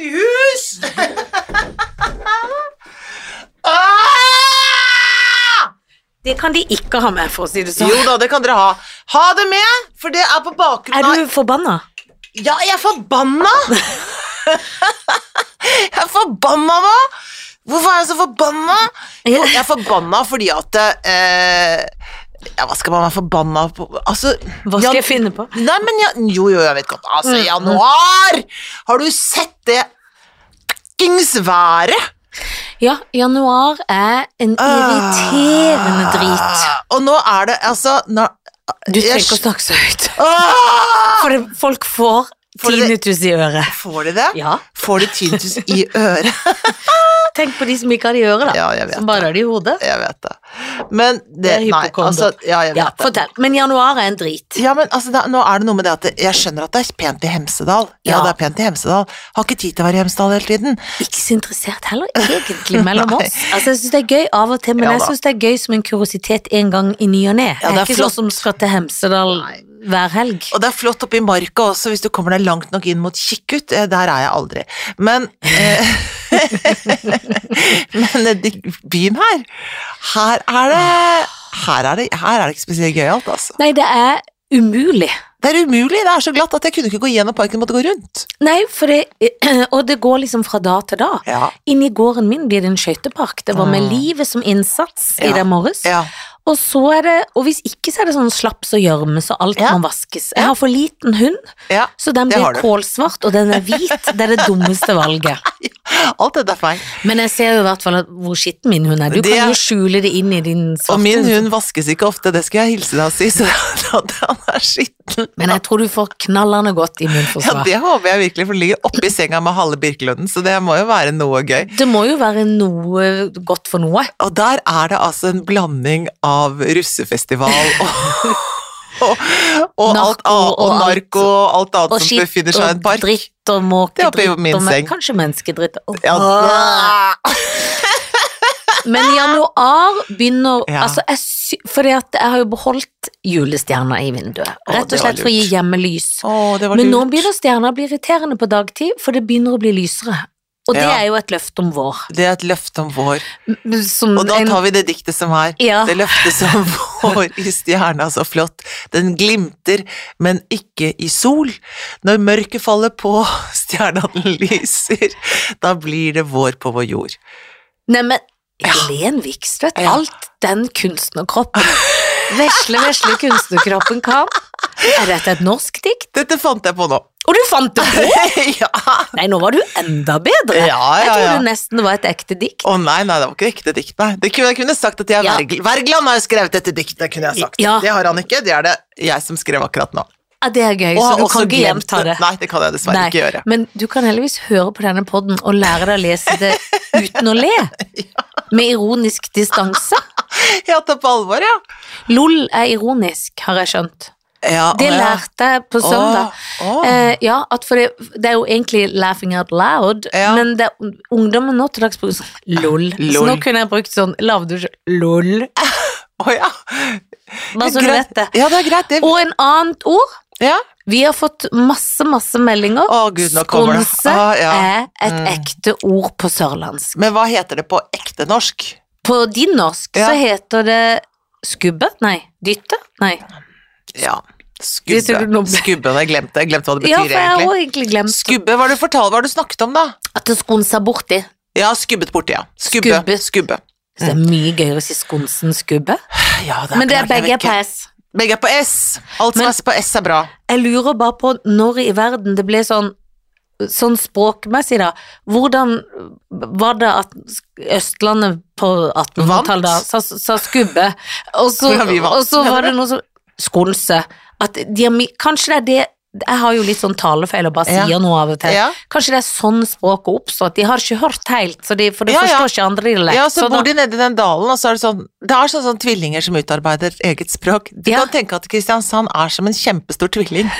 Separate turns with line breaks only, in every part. i hus! ah!
Det kan de ikke ha med, for å si det sånn.
Jo da, det kan dere ha. Ha det med, for det er på bakgrunn
Er
av
du forbanna?
Ja, jeg er forbanna! jeg er forbanna nå! Hvorfor er jeg så forbanna? Jo, jeg er forbanna fordi at eh, ja, Hva skal man være forbanna på? Altså,
Hva skal jeg Mm, finne på?
Nei, men ja, jo, jo, jeg vet godt. Altså, januar! Har du sett det fuckings været?
Ja, januar er en irriterende drit.
Ah, Og nå er det altså nå,
Du trenger
jeg-
ikke å snakke så høyt.
Ah!
For det, folk får
For det-
tinnitus i øret.
Får de det?
Ja.
Får de tinnitus i øret?
Tenk på de som ikke har det i øret, da.
Ja, jeg vet
som bare har det i hodet.
Jeg vet det. Men det,
Det er
Nei,
hypokonder.
altså Ja, jeg vet
Ja,
det.
fortell. Men januar er en drit.
Ja, men altså, da, nå er det noe med det at det- Jeg skjønner at det er pent i Hemsedal. Ja,
Ja.
det er pent i Hemsedal. Har ikke tid til å være i Hemsedal hele tiden.
Ikke så interessert heller, egentlig, mellom
Nei.
oss. Altså, Jeg syns det er gøy av og til, men
Ja
jeg
da.
syns det er gøy som en kuriositet en gang i ny og ne.
Ja,
jeg
det er
er ikke
flott.
sånn som skal til Hemsedal hver helg.
Og det er flott oppe i marka også, hvis du kommer deg langt nok inn mot Kikkut. Eh, Der er jeg aldri. Men eh, Men eh, de- byen her Her er det her er, det, her er det ikke spesielt gøyalt, altså.
Nei, det er umulig.
Det er umulig. Det er så glatt at jeg kunne ikke gå gjennom parken, måtte gå rundt.
Nei, for det Og det går liksom fra da til da.
Ja.
Inni gården min blir det en skøytepark. Det var med
Mm.
livet som innsats i
Ja.
den morges.
ja.
Og så er det Og hvis ikke, så er det sånn slaps og gjørme, så alt
Ja.
må vaskes.
Ja.
Jeg har for liten hund,
ja.
så den
Det har
blir
du.
kålsvart, og den er hvit. Det er det dummeste valget.
Alt dette er feil.
Men jeg ser jo i hvert fall at hvor skitten min hund er. Du
Det-
kan jo skjule det inn i din svarte
Og min
hund.
hund vaskes ikke ofte, det skal jeg hilse deg og si, så at han er skitten.
Men jeg tror du får knallende godt
Ja,
immunforsvar.
det håper jeg virkelig, for den ligger oppi senga med halve Birkelunden, så det må jo være noe gøy.
det må jo være noe godt for noe.
Og der er det altså en blanding av russefestival og Og, og alt annet,
Narko
og
og alt.
narko og alt annet
Og
som
skitt
befinner seg i en
og
park.
dritt og
Det er oppe i
måkedritt.
min
og men-
seng.
Kanskje menneskedritt. Åh.
Ja, da.
Men januar begynner
Ja.
altså jeg, sy- Fordi at jeg har jo beholdt julestjerna i vinduet.
Å,
Rett
det
og
var
slett for å gi
lurt.
hjemmelys.
Å, det var
Men nå
lurt.
begynner stjerna å bli irriterende på dagtid, for det begynner å bli lysere. Og det
Ja.
er jo et løfte om vår.
Det er et løfte om vår.
M- Som
Og da
Mm, en-
tar vi det diktet som er.
Ja.
Det løftet som vår i stjerna så flott. Den glimter, men ikke i sol. Når mørket faller på, stjerna den lyser, da blir det vår på vår jord.
Nei, men Helen Vikstvedt,
Ja.
alt den kunstnerkroppen Vesle, vesle kunstnerkroppen kan. Er dette et norsk dikt?
Dette fant jeg på nå.
Og du fant det på!
ja.
Nei, nå var du enda bedre.
Ja, ja,
Jeg
ja.
trodde nesten det var et ekte dikt.
Å nei, nei, det var ikke ekte dikt, nei. Det kunne, jeg kunne sagt at jeg er
Ja.
Werg- Wergeland har skrevet dette diktet, kunne jeg sagt.
Ja.
Det har han ikke, det er det jeg som skrev akkurat nå.
Ja, Ah, det er gøy,
Og
så
har
du
også
kan ikke
glemt
gjenta det.
Nei, det kan jeg dessverre
Nei,
ikke gjøre.
Men du kan heldigvis høre på denne podden og lære deg å lese det uten å le. Med ironisk distanse.
Jeg har tatt på alvor, ja.
LOL er ironisk, har jeg skjønt.
Ja,
Det
å, ja.
lærte jeg på søndag.
Å, å.
Eh, ja, at for det, det er jo egentlig 'laughing out loud',
Ja.
men det, ungdommen nå til dags bruker sånn LOL. Så
Lol.
nå kunne jeg brukt sånn lavdusj LOL.
Å ja.
Bare så du
Greit.
vet det.
Ja, det er greit. Det.
Og en annet ord
ja.
Vi har fått masse, masse meldinger.
Å, Gud, nå kommer det.
Skonse
Å, ja.
er et
Mm.
ekte ord på sørlandsk.
Men hva heter det på ekte norsk?
På din norsk
Ja.
så heter det skubbe, nei, dytte, nei.
Ja.
Det ser
Skubbe.
du nå-
Skubbe, jeg glemte, jeg glemte hva det
Ja, for
betyr
jeg har
egentlig.
også egentlig glemt
Skubbe, hva har du fortalt, hva har du snakket om da?
at det skonser borti.
Ja, skubbet borti, ja. Skubbe.
Skubbe.
Skubbe.
Så det er mye gøyere å si skonsen skubbe.
Ja, det er
Men det er
klart, Mm. jeg
begge
vet ikke.
pass.
Begge er på S. Alt som
Men-
er på S er bra.
Jeg lurer bare på når i verden det ble sånn Sånn språkmessig, da. Hvordan var det at Østlandet på 1800-tallet da sa, sa skubbe, og så,
Ja, vi vant,
og så
mener
var
du?
det noe som Skonse. At de har, mi- kanskje det er det Jeg har jo litt sånn talefeil og bare
Ja.
sier noe av og til.
Ja.
Kanskje det er sånn språket oppstår, at de har ikke hørt helt, så de, for de
Ja, ja.
forstår ikke andre dialekt.
Ja, så
Så
bor
da-
de nede i den dalen, og så er det sånn Det er sånn, sånn tvillinger som utarbeider eget språk. Du
Ja.
kan tenke at Kristiansand er som en kjempestor tvilling.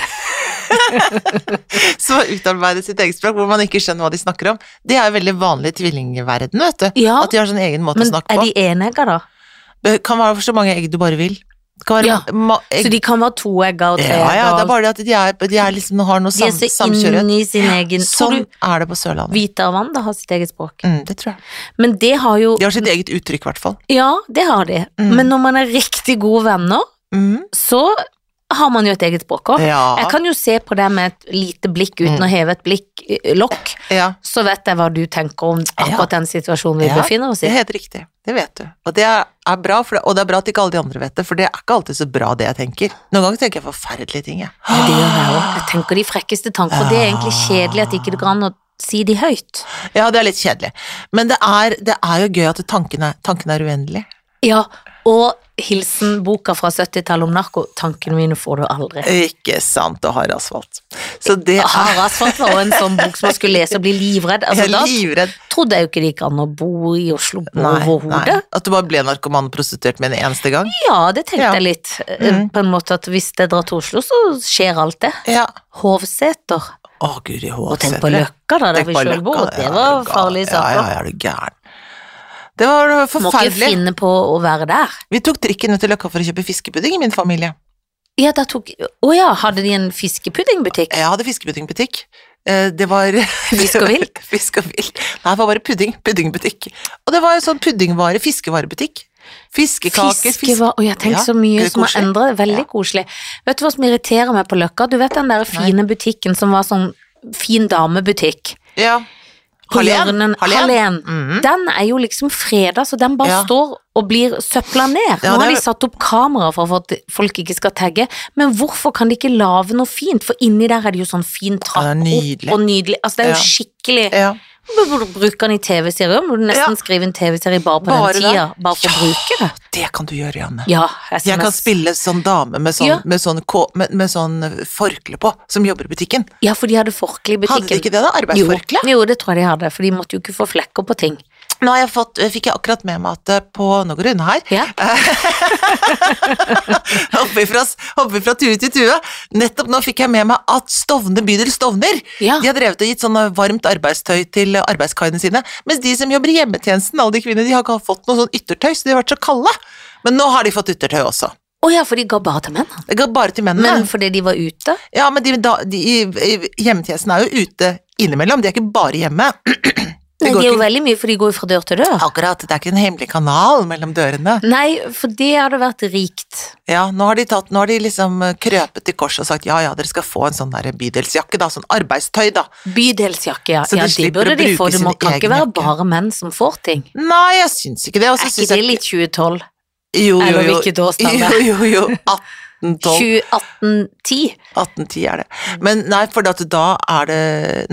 som har utarbeidet sitt eget språk, hvor man ikke skjønner hva de snakker om. Det er jo veldig vanlig i tvillingverdenen, vet du.
Ja.
At de har sånn egen måte
men
å snakke
er
på.
de enegga, da?
Det kan være så mange egg du bare vil. Det kan være
Ja,
ma egg.
Så de kan være to egg og tre
ja, ja, det
egg
er
og alt.
bare det at de, er, de er liksom, har noe
De
sam,
er så
samkjøret.
inni sin egen Tror
Sånn
du
er det på Sørlandet.
Hvitervann har sitt eget språk?
Mm, det tror jeg.
Men det har jo
De har sitt eget uttrykk, i hvert fall.
Ja, det har de.
Mm.
Men når man er riktig gode venner,
Mm.
så har man jo et eget språk òg.
Ja.
Jeg kan jo se på deg med et lite blikk uten
Mm.
å heve et blikk eh, lokk,
ja.
så vet jeg hva du tenker om akkurat den situasjonen vi
Ja,
befinner oss
Det
i.
er helt riktig, det vet du. Og det er, er bra, for det, og det er bra at ikke alle de andre vet det, for det er ikke alltid så bra det jeg tenker. Noen ganger tenker jeg forferdelige ting, jeg.
Ja, det gjør jeg òg. Jeg tenker de frekkeste tanker, og det er egentlig kjedelig at ikke det går an å si de høyt.
Ja, det er litt kjedelig. Men det er, det er jo gøy at tanken er, tanken er uendelig.
Ja, og hilsenboka fra 70-tallet om narko, tankene mine får du aldri.
Ikke sant, og har asfalt. Så det er
Harald Svart var også en sånn bok som man skulle lese og bli livredd. Ah, Altså,
Jeg er
da
livredd.
trodde jeg jo ikke det gikk an å bo i Oslo
Nei, nei.
overhodet.
At du bare ble narkoman og prostituert med en eneste gang.
Ja, det tenkte
Ja.
jeg litt. eh,
Mm.
På en måte at hvis jeg drar til Oslo, så skjer alt det.
Ja.
Hovseter.
Å, guri
Og tenk
håsetre.
på Løkka, da, der
Tenk
vi
på
sjøl
Løkka,
bor.
ja,
Det
er
var
du gal-
farlige
Ja,
saker.
ja, er du gæren. Det var
Må ikke
forferdelig.
finne på å være der.
Vi tok trikken ut til Løkka for å kjøpe fiskepudding i min familie.
Ja, da tok Å ja, hadde de en fiskepuddingbutikk?
Jeg hadde fiskepuddingbutikk. Eh, Det var
Fisk og vilt?
Fisk og vilt. Nei, det var bare pudding. Puddingbutikk. Og det var jo sånn puddingvare, fiskevarebutikk. Fiskekaker,
Fiske
fisk...
var Å, jeg tenker så
Ja,
mye
er det
som har
koselig?
endret. Veldig
Ja.
koselig. Vet du hva som irriterer meg på Løkka? Du vet den der fine butikken som var sånn fin damebutikk?
Ja.
På
Hallén?
hjørnen-
Hallén?
Hallén.
Mhm.
Den er jo liksom freda, så den bare
Ja.
står og blir søpla ned.
Ja,
Nå
det
har
er-
de satt opp kamera for at folk ikke skal tagge, men hvorfor kan de ikke lage noe fint? For inni der er det jo sånn fin trapp
Ja, det er nydelig.
opp og nydelig. Altså, det er
Ja.
jo skikkelig
ja.
Hvorfor bruker den i TV-serier? Må du nesten
Ja.
skrive en TV-serie bare på
Bare
den
det?
tida? Bare for brukere?
Det kan du gjøre, Janne.
Ja, SMS.
Jeg kan spille sånn dame med sånn,
Ja.
med sånn, kå- med, med sånn forkle på, som jobber i butikken.
Ja, for de hadde forkle i butikken.
Hadde de ikke det, da?
Jo.
Arbeidsforkle?
Jo, det tror jeg de hadde, for de måtte jo ikke få flekker på ting.
Nå har jeg fått, fikk jeg akkurat med meg at eh, på Nå går det unna her.
Ja.
Hopper vi fra, hopper vi fra tue til tue. Nettopp nå fikk jeg med meg at Stovner bydel Stovner
Ja.
De har drevet og gitt sånn varmt arbeidstøy til arbeidskaiene sine. Mens de som jobber i hjemmetjenesten, alle de kvinnene, de har ikke fått noe sånn yttertøy, så de har vært så kalde. Men nå har de fått yttertøy også.
Å ja, for de ga bare til mennene.
Det går bare til mennene.
Men fordi de var ute?
ja, men de, da, de, i, i, hjemmetjenesten er jo ute innimellom, de er ikke bare hjemme. Det
Nei,
går
det er jo
ikke-
veldig mye, for de går jo fra dør til dør.
Akkurat, det er ikke en hemmelig kanal mellom dørene.
Nei, for det hadde vært rikt.
Ja, nå har de, tatt, nå har de liksom eh, krøpet til korset og sagt ja ja, dere skal få en sånn der bydelsjakke, da, sånn arbeidstøy, da.
Bydelsjakke, ja.
Så de
ja det
slipper
burde
å
de
bruke
få. Det må,
sin
kan
egen
ikke være
jakke.
bare menn som får ting.
Nei, jeg syns ikke det. Og så
Er
syns
ikke
jeg
det litt 2012?
Jo, jo,
Eller
jo.
hvilket årstall det
Jo,
er?
jo, jo. 1812.
2018-10?
1810 er det. Men nei, for at da er det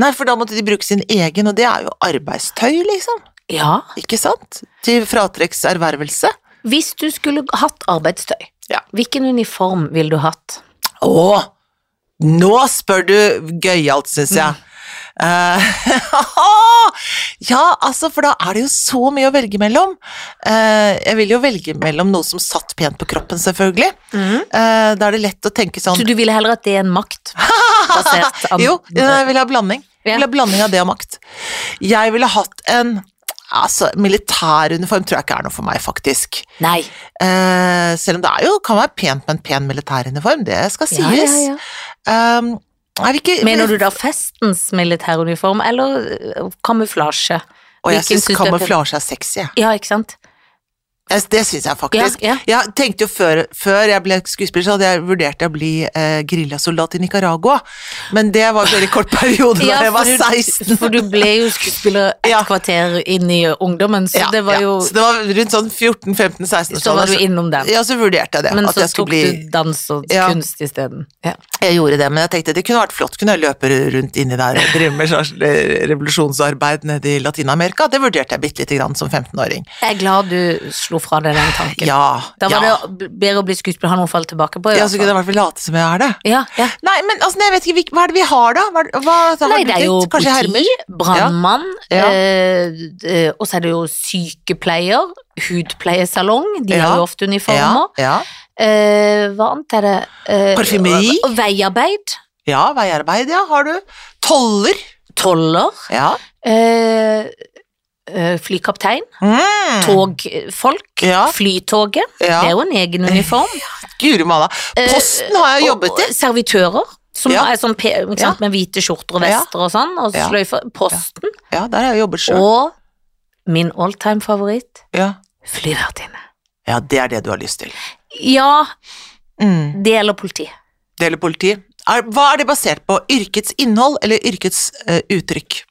Nei, for da måtte de bruke sin egen, og det er jo arbeidstøy, liksom.
Ja.
Ikke sant? Til fratrekkservervelse.
Hvis du skulle hatt arbeidstøy,
Ja.
hvilken uniform ville du hatt?
Å! Nå spør du gøyalt, syns jeg. Eh, ja, altså, for da er det jo så mye å velge mellom. Eh, jeg vil jo velge mellom noe som satt pent på kroppen, selvfølgelig. Eh, da er det lett å tenke sånn
Så Mm. du ville heller at det er en makt? Basert av
Jo, eh, jeg vil ha blanding.
Ja.
Jeg vil ha blanding av det og makt. Jeg ville hatt en Altså, militæruniform tror jeg ikke er noe for meg, faktisk.
Nei.
Eh, selv om det er jo, kan være pent med en pen militæruniform, det skal sies.
Ja, ja, ja.
Um, jeg vil ikke,
Mener du da festens militæruniform, eller eh, kamuflasje?
Og jeg
Hvilken
syns
synes du er pen?
kamuflasje er sexy. jeg.
Ja, ikke sant?
Jeg, det syns jeg faktisk.
Ja, ja.
Jeg tenkte jo før, før jeg ble skuespiller, så hadde jeg vurdert å bli eh, geriljasoldat i Nicaragua, men det var en veldig kort periode da jeg var
for du-
16.
For du ble jo skuespiller et
Ja.
kvarter inn i ungdommen, så
Ja,
det var
ja.
jo
Så det var rundt sånn 14-15-16
Så var du innom den.
sånn. Ja, så vurderte jeg det.
Men
at
så
jeg skulle
tok
bli
du dans og
Ja.
kunst isteden. Ja.
Jeg gjorde det, men jeg tenkte det kunne vært flott. Kunne jeg løpe rundt inni der og drive med slags eh, revolusjonsarbeid nede i Latin-Amerika? Det vurderte jeg bitte lite grann som 15-åring.
Jeg er glad du slo fra deg den tanken.
Ja,
Da var
ja.
det bedre å bli skuespiller, ha noe å falle tilbake på. i
ja,
hvert
så kunne jeg i hvert fall late som jeg er det.
fall. ja, ja.
Nei, men altså, jeg vet ikke, hvil- hva er det vi har da? Hva, hva, hva har
Nei,
du
det er jo
tenkt? Kanskje
politi,
hermer?
brannmann,
Ja. Ja.
eh, eh, og så er det jo sykepleier, hudpleiesalong, de har
Ja.
jo ofte uniformer.
Ja,
Eh, hva annet er det? Eh,
Parfymeri.
Og, og veiarbeid.
ja. ja, veiarbeid, ja, har du. Toller.
Toller.
Ja.
Eh, eh, flykaptein,
Mm.
togfolk,
Ja.
Flytoget.
Ja.
Det er jo en egen uniform. Eh,
Guri malla. Posten har jeg jobbet i.
Og- og Servitører, som
Ja.
er sånn pe- ikke sant, med hvite skjorter og
Ja.
vester og sånn, og
Ja.
sløyfer. Posten.
Ja, der har jeg jobbet sjøl.
Og min alltime favoritt,
Ja.
flyvertinne.
ja, det er det du har lyst til.
Ja,
Mm.
det gjelder politi.
Det gjelder politi. Er, hva er det basert på? Yrkets innhold eller yrkets eh, uttrykk?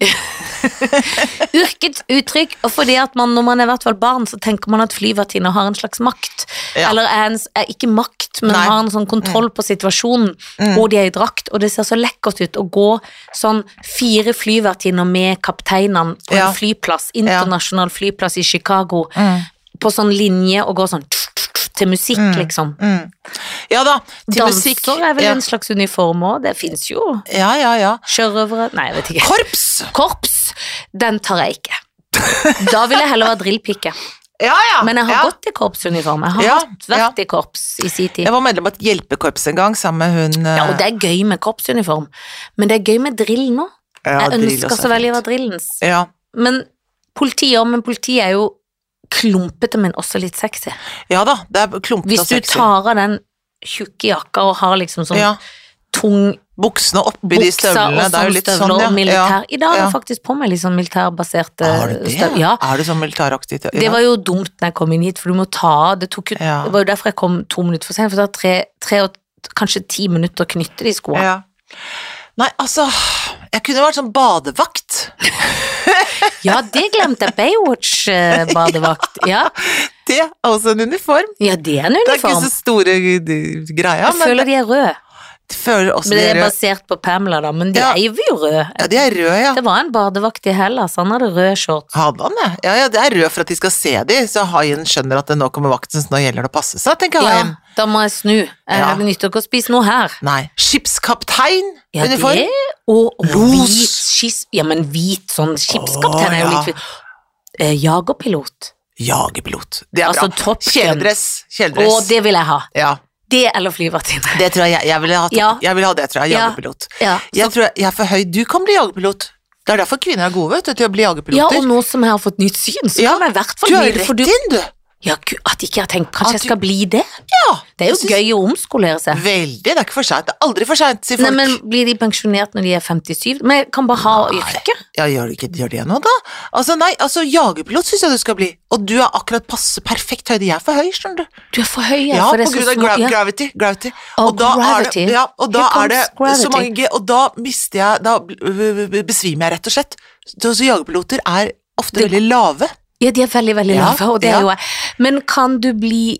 Yrkets uttrykk, og fordi at man når man er i hvert fall barn, så tenker man at flyvertinner har en slags makt.
Ja.
Eller er en, s- er ikke makt, men
Nei. Mm.
har en sånn kontroll på situasjonen, og de er i drakt, og det ser så lekkert ut å gå sånn fire flyvertinner med kapteinene på
Ja. Mm.
en flyplass, internasjonal flyplass i Chicago, på sånn linje og gå sånn til musikk, liksom.
Ja da, Mm. til
Danser
musikk.
er vel
ja.
en slags uniform òg, det fins jo.
ja, ja, ja.
Sjørøvere Nei, jeg vet ikke.
Korps!
Korps, den tar jeg ikke. Da vil jeg heller være drillpike.
Ja, ja.
Men jeg har
ja.
gått i korpsuniform. Jeg har
Ja,
hatt- vært i korps i sin tid.
Jeg var medlem av et hjelpekorps en gang, sammen med hun
Ja, og det er gøy med korpsuniform, men det er gøy med drill nå.
eh,
jeg ønsker så veldig å være drillens.
Ja.
Men politi ja, men politi er jo klumpete, men også litt sexy.
ja da, det er klumpete
Hvis
og
du
sexy.
tar av den tjukke jakka og har liksom sånn
ja.
tung
Buksene oppi de
buksa og
støvlene, det er jo
sånn
litt
støvler
sånn, ja.
og militær. I dag har
ja.
jeg faktisk på meg litt sånn militærbaserte
ja. Har du det?
støv- Ja.
Er du sånn militæraktig? til-
Det var jo dumt når jeg kom inn hit, for du må ta av. Det, tok jo,
Ja.
det var jo derfor jeg kom to minutter for sent, for det var tre, tre og t- kanskje ti minutter å knytte de skoene.
ja. Nei, altså Jeg kunne vært sånn badevakt.
Ja, det glemte jeg. Baywatch-badevakt. Ja.
Det er også en uniform.
ja, det er en
Det er ikke
uniform.
så store de, greia,
Jeg
men
føler de er røde.
jeg føler også
Men
de
det
er
er
røde.
basert på Pamela, da, men de
Ja.
er jo røde.
Ja, de er røde, ja.
Det var en badevakt i Hellas, han hadde røde shorts.
Hadde han det? Ja, ja, det er rød for at de skal se de, så haien skjønner at det nå kommer vakten, så nå gjelder det å passe seg, tenker
Ja,
haien.
da må jeg snu.
Ja.
Jeg nytter ikke å spise noe her.
Nei. Skipskaptein?
Ja,
uniform?
det og, og
Los.
hvit skis... Ja, men hvit sånn skipskaptein er jo
Å, ja.
litt hvit. Eh, Jagerpilot.
Jagerpilot. Det er
Altså,
bra.
Top Gun.
Kjeledress.
Å,
Kjeledress.
det vil jeg ha.
Ja.
Det eller flyvertinne.
Det tror jeg jeg ville ha. Top-
Ja.
Jeg ville ha det, tror jeg.
Ja.
Jagerpilot.
Ja.
Jeg tror jeg, jeg er for høy. Du kan bli jagerpilot. Det er derfor kvinner er gode, vet du, til å bli
ja, og
jagerpiloter.
nå som jeg har fått nytt syn, så
Ja.
kan jeg i hvert fall
Du
bli
er
det. For
rett
du
inn, du.
Ja, gud, at ikke jeg tenkte kanskje
At
jeg skal bli det.
Ja.
Det er jo
Jeg synes-
gøy å omskolere seg.
Veldig. Det er ikke for seint. Det er aldri for seint, sier
Nei,
folk.
men Blir de pensjonert når de er 57? Men jeg kan bare ha yrke.
Ja, gjør, det ikke, gjør det nå, da? Altså, nei, altså, jagerpilot syns jeg du skal bli. Og du er akkurat passe perfekt høyde. Jeg er for høy, skjønner du.
Du er for høy.
Ja,
for det
på
er så
grunn av
små-
gra
ja.
gravity. gravity.
Å,
og da
gravity.
er det, ja, og da
Here
er det
comes
så mange G, og da mister jeg Da bl- b- b- b- besvimer jeg, rett og slett. Så, så jagerpiloter er ofte veldig lave.
ja, de er veldig, veldig
Ja,
lave, og det
ja.
er jo jeg. Men kan du bli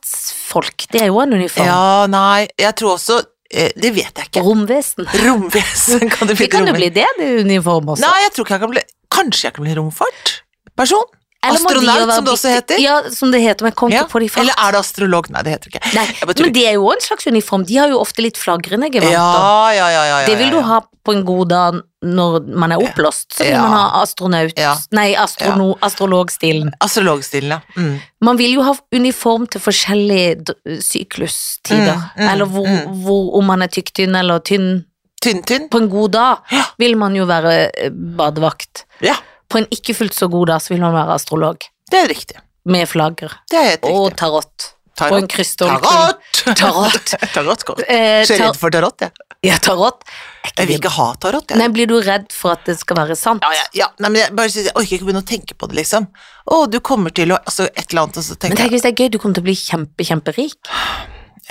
romfartsfolk? Det er jo en uniform.
Ja, nei, jeg tror også eh, Det vet jeg ikke.
Romvesen.
Romvesen kan det bli.
Det kan jo
romvesen?
bli det, det er uniform også.
Nei, jeg tror ikke jeg kan bli Kanskje jeg kan bli romfartperson?
Eller må de jo
Astronaut,
være
som det også
bitte-
heter.
Ja, som det heter, men jeg kom
Ja.
ikke på det i fart.
Eller er det astrolog? Nei, det heter det ikke.
Nei,
Jeg bare
men
tuller.
det er jo også en slags uniform. De har jo ofte litt flagrende
Ja,
gevanter.
ja, ja, ja, ja,
Det vil
ja,
du
ja.
ha på en god dag når man er oppblåst. Så vil
Ja.
man ha astronaut,
Ja.
nei, astrono, astrologstilen.
Astrologstilen, ja. Mm.
Man vil jo ha uniform til forskjellige d- syklustider.
Mm, mm,
eller hvor,
mm.
hvor, om man er tykktynn eller tynn.
Tynn-tynn.
På en god dag
Ja.
vil man jo være eh, badevakt.
Ja,
På en ikke fullt så god dag så vil man være astrolog.
det er riktig.
Med flagger.
Det er helt
Og
riktig.
tarot.
Tarot.
Og en krystallkule.
Tarot!
Tarot.
Tarotkort.
Eh,
Så jeg er
tar,
redd for tarot, jeg.
ja, tarot. Er
Jeg vil
det-
ikke ha tarot,
Nei,
jeg.
blir du redd for at det skal være sant?
Ja, ja, ja. Nei, men jeg, bare, synes- jeg orker ikke begynne å tenke på det, liksom. Å, du kommer til å altså, Et eller annet, og så
Men
tenker jeg
tenk hvis det er gøy, du kommer til å bli kjempe, kjemperik.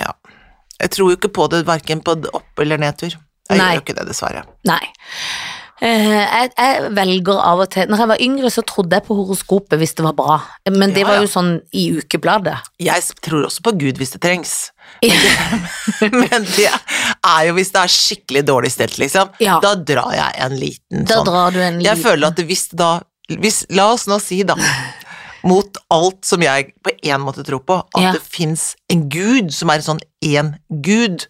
Ja. Jeg tror jo ikke på det, verken på d- opp- eller nedtur. Jeg
Nei.
gjør jo ikke det, dessverre.
Nei. Eh, jeg, jeg velger av og til Når jeg var yngre, så trodde jeg på horoskopet hvis det var bra. Men
Ja,
det var
ja.
jo sånn i ukebladet.
Jeg s- tror også på Gud hvis det trengs. Men det er jo hvis det er skikkelig dårlig stelt, liksom.
Ja.
Da drar jeg en liten
Da
sånn
drar du en
Jeg
liten
føler at hvis det da hvis, La oss nå si, da, mot alt som jeg på en måte tror på, at
Ja.
det fins en gud som er en sånn én gud.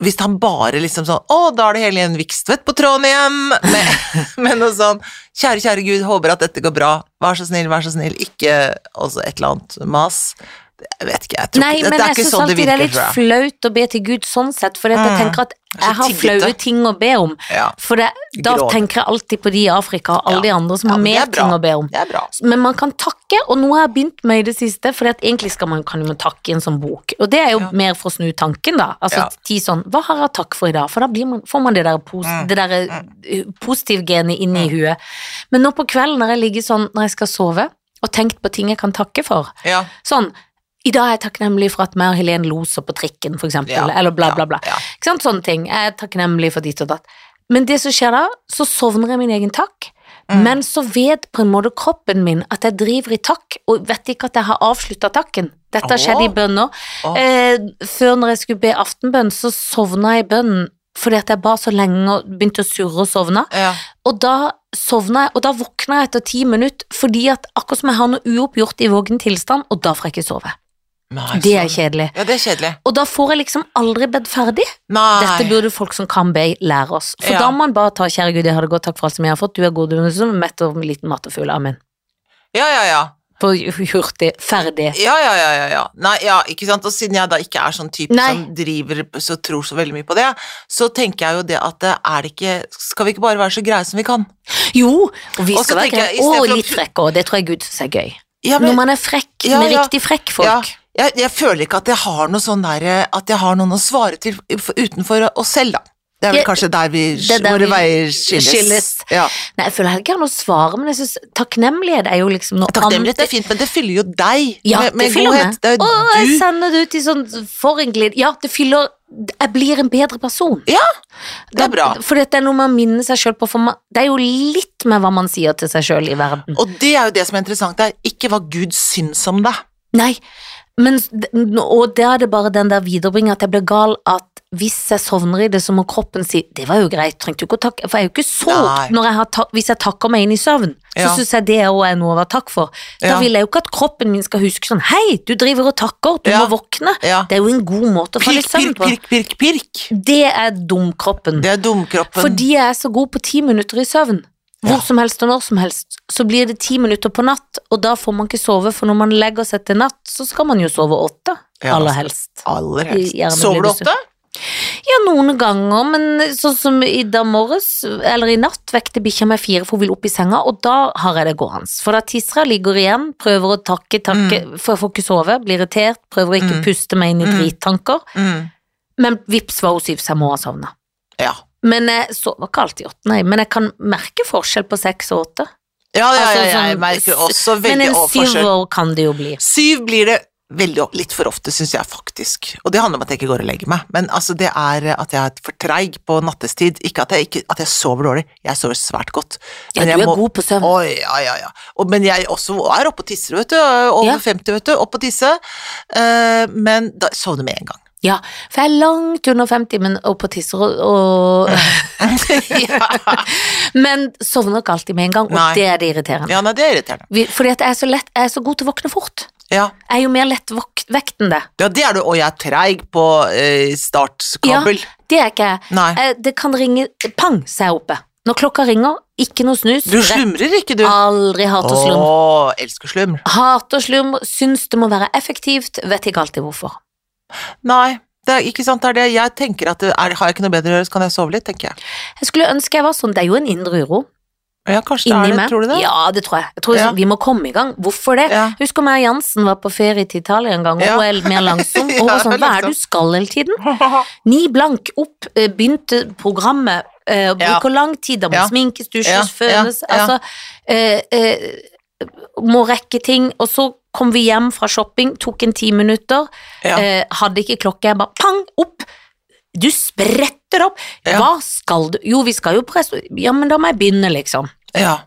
Hvis han bare liksom sånn Å, da er det Helen Vikstvedt på tråden igjen! Med, med noe sånn Kjære, kjære Gud, håper at dette går bra. Vær så snill, vær så snill. Ikke altså et eller annet mas. Jeg vet ikke, jeg tror
Nei,
ikke
men
Det er
jeg
ikke
syns
sånn det
alltid det er
virker,
litt
tror jeg.
flaut å be til Gud sånn sett, for jeg
Mm.
tenker at
Det er så
jeg har
tiggete.
flaue ting å be om.
Ja,
For det, da
Grov.
tenker jeg alltid på de i Afrika og alle
Ja.
de andre som
Ja,
har
men det
mer
er bra.
ting å be om.
det er bra.
Men man kan takke, og noe jeg har begynt med i det siste, for egentlig skal man, kan man takke i en sånn bok. Og det er jo
Ja.
mer for å snu tanken, da. Altså
Ja.
ti sånn Hva har jeg takk for i dag? For da blir man, får man det der, pos
Mm.
det der eh, positivgenet inni huet. Men nå på kvelden når jeg ligger sånn når jeg skal sove, og tenkt på ting jeg kan takke for,
Ja,
sånn I dag er jeg takknemlig for at meg og Helen loser på trikken, for eksempel,
ja,
eller bla,
ja,
bla, bla.
Ja,
Ikke sant, sånne ting. Jeg er takknemlig for ditt og datt. Men det som skjer da, så sovner jeg min egen takk.
Mm.
Men så vet på en måte kroppen min at jeg driver i takk, og vet ikke at jeg har avslutta takken. Dette har skjedd i
Åh.
bønner.
Åh.
Eh, før når jeg skulle be aftenbønn, så sovna jeg i bønnen fordi at jeg ba så lenge og begynte å surre og sovne.
ja,
Og da sovna jeg, og da våkna jeg etter ti minutter fordi at akkurat som jeg har noe uoppgjort i våken tilstand, og da får jeg ikke sove.
Nei,
Det er
sånn.
kjedelig.
Ja, det er kjedelig.
Og da får jeg liksom aldri bedt ferdig.
Nei.
Dette burde folk som kan be, lære oss. For
Ja.
da må man bare ta 'Kjære Gud, jeg har det godt, takk for alt som jeg har fått', du er god, du er som mett og liten mattefugl, amen.
Ja, ja, ja.
På hurtig, ferdig.
Ja, ja, ja, ja, ja. Nei, ja, ikke sant? Og siden jeg da ikke er sånn type
Nei.
som driver så tror så veldig mye på det, så tenker jeg jo det at eh, er det ikke Skal vi ikke bare være så greie som vi kan?
Jo, og vi
Og så
skal være
tenker jeg,
greie.
i stedet
Og
for å-
litt frekke òg, det tror jeg Gud syns er gøy.
Ja,
Når
men
man er frekk
Ja,
med
ja.
riktig frekk folk.
jeg, jeg føler ikke at jeg har noe sånn der eh, At jeg har noen å svare til f- utenfor oss selv, da. Det er vel
Det-
kanskje der vi
det er der
Våre
vi
veier skilles.
skilles.
Ja.
Nei, jeg føler heller ikke jeg har noe svar, men jeg synes takknemlighet er jo liksom noe
Takknemlighet er
annet.
fint, men det fyller jo deg
Ja,
med,
det
med
fyller
godhet.
meg.
Det er
Å,
jo
jeg
du.
sender det ut i sånn forhenglid. Ja, det fyller Jeg blir en bedre person.
Det er bra.
For det er noe man minner seg sjøl på. For man, det er jo litt med hva man sier til seg sjøl i verden.
Og det er jo det som er interessant der. Ikke hva Gud syns om deg.
Nei, men, s- d- og da er det bare den der viderebringer at jeg blir gal at hvis jeg sovner i det, så må kroppen si 'det var jo greit, trengte jo ikke å takke', for jeg er jo ikke
Nei.
så når jeg har ta Hvis jeg takker meg inn i søvn, så
Ja.
synes syns jeg det òg er noe å være takk for. Da
Ja.
vil jeg jo ikke at kroppen min skal huske sånn 'hei, du driver og takker, du
Ja.
må våkne'.
Ja.
Det er jo en god måte å falle i
Pirk,
søvn
pirk,
på.
pirk, pirk, pirk.
Det er dumkroppen.
Det er dumkroppen.
Fordi jeg er så god på ti minutter i søvn. Hvor
Ja.
som helst og når som helst. Så blir det ti minutter på natt, og da får man ikke sove, for når man legger seg til natt, så skal man jo sove åtte.
Ja,
aller
altså.
helst.
Aller
I- gjerne
helst. Sover du
blir du
ofte?
Ja, noen ganger, men sånn som i dag morges, eller i natt, vekte bikkja meg fire, for hun vil opp i senga, og da har jeg det gående. For da tisser jeg, ligger igjen, prøver å takke, takke, for jeg får ikke sove, blir irritert, prøver å ikke
Mm.
puste meg inn i
Mm.
drittanker,
Mm.
men vips var hun syv, så jeg må ha sovna.
Ja.
Men jeg sover ikke alltid åtte, nei, men jeg kan merke forskjell på seks og åtte.
Ja, ja,
Altså,
ja, ja, jeg
sånn-
merker også
Men
veldig
en
å- forskjell.
syver kan det jo bli.
Syv blir det veldig o- litt for ofte, syns jeg faktisk. Og det handler om at jeg ikke går og legger meg. Men altså, det er at jeg er for treig på nattestid. Ikke at jeg, ikke, at jeg sover dårlig, jeg sover svært godt.
Ja,
Men
du
jeg
er
må-
god på søvn.
Oi, ja, ja, ja. Og, men jeg også er oppe og tisser, vet du. Over
Ja.
50, vet du. Opp og tisse. Eh, men da sovner med en gang.
Ja, for jeg er langt under 50, men og på tisser og, og Men sovner ikke alltid med en gang, og
Nei.
det er det irriterende.
Ja, nei, det er irriterende.
Vi- Fordi at jeg er, så lett, jeg er så god til å våkne fort.
Ja.
Jeg er jo mer lettvekt enn det.
Ja, det er du, og jeg er treig på eh, startkabel.
Det er ikke jeg.
Nei.
Eh, Det kan ringe Pang, så er jeg oppe. Når klokka ringer, ikke noe snus.
Du slumrer ikke, du.
rett- Aldri hat og slum.
Å, elsker slumr.
Hat og slum, syns det må være effektivt, vet ikke alltid hvorfor.
Nei, det er ikke sant, det er det. Jeg tenker at det er, har jeg ikke noe bedre å gjøre, så kan jeg sove litt, tenker jeg.
Jeg skulle ønske jeg var sånn, det er jo en indre uro.
Ja, kanskje det
Inni
er det,
meg.
tror du det?
Ja, det tror jeg. jeg tror
Ja.
Vi må komme i gang. Hvorfor det?
Ja.
Husker meg og Jansen var på ferie til Italia en gang, og
Ja.
hun er litt mer langsom. Og hun var
Ja,
sånn, hva er
langsom.
det du skal hele tiden? Ni blank opp, eh, begynte programmet, eh, og
Ja.
bruker lang tid, da må
Ja.
sminkes, dusjes,
Ja, ja,
føles,
ja.
altså eh, eh, må rekke ting, og så kom vi hjem fra shopping, tok en ti minutter,
Ja.
eh, hadde ikke klokke, jeg bare pang, opp! Du spretter opp!
Ja.
Hva skal du? Jo, vi skal jo på restaurant. Ja, men da må jeg begynne, liksom.
Ja.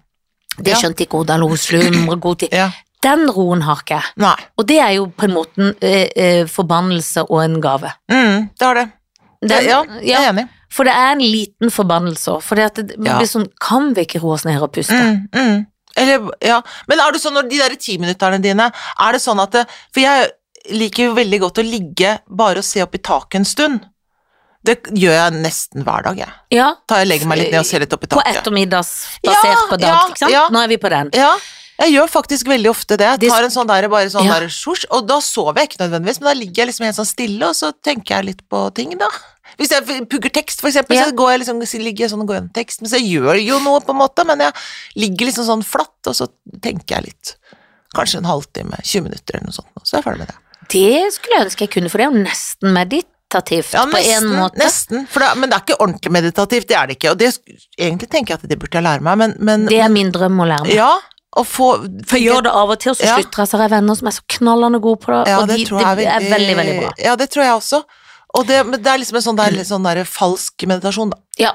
Det
Ja.
skjønte ikke hun, da lo hun slumre god tid.
ja.
Den roen har ikke jeg.
Nei.
Og det er jo på en måte en eh, eh, forbannelse og en gave.
Mm, det har det. det
Den-
ja, jeg er enig.
For det er en liten forbannelse òg. For det, at det
Ja.
blir sånn Kan vi ikke roe oss ned og puste?
Mm, mm. Eller, ja. Men er det sånn når de der timinutterne dine, er det sånn at det, For jeg liker jo veldig godt å ligge bare og se opp i taket en stund. Det gjør jeg nesten hver dag, jeg.
Ja.
Da jeg legger meg litt ned og ser litt opp i
På
taket.
ettermiddags basert
Ja,
på dag,
ja,
ikke sant?
ja.
Nå er vi på den.
Ja, Jeg gjør faktisk veldig ofte det. Jeg
Det-
tar en sånn der, bare sånn
Ja.
der sjosj, og da sover jeg ikke nødvendigvis, men da ligger jeg liksom helt sånn stille, og så tenker jeg litt på ting, da. Hvis jeg pugger tekst, for eksempel,
Ja.
så går jeg liksom, så ligger jeg sånn og går gjennom teksten, så jeg gjør jo noe på en måte, men jeg ligger liksom sånn flatt, og så tenker jeg litt. Kanskje en halvtime, 20 minutter eller noe sånt, og så er jeg ferdig med det.
Det skulle jeg ønske jeg kunne, for det er jo nesten meditativt
Ja,
på en måte.
nesten. For det, men det er ikke ordentlig meditativt, det er det ikke, og det, egentlig tenker jeg at det burde jeg lære meg, men, men
Det er min drøm å lære meg.
ja, å få...
For jeg gjør det av og til, og så
Ja.
slutter jeg, så har jeg venner som er så knallende gode på det,
Ja,
og
det
de,
tror jeg
det er veldig, veldig bra. Mm.
Ja, det tror jeg også. Og det, men det er liksom en sånn der, litt sånn der falsk meditasjon, da.
Ja,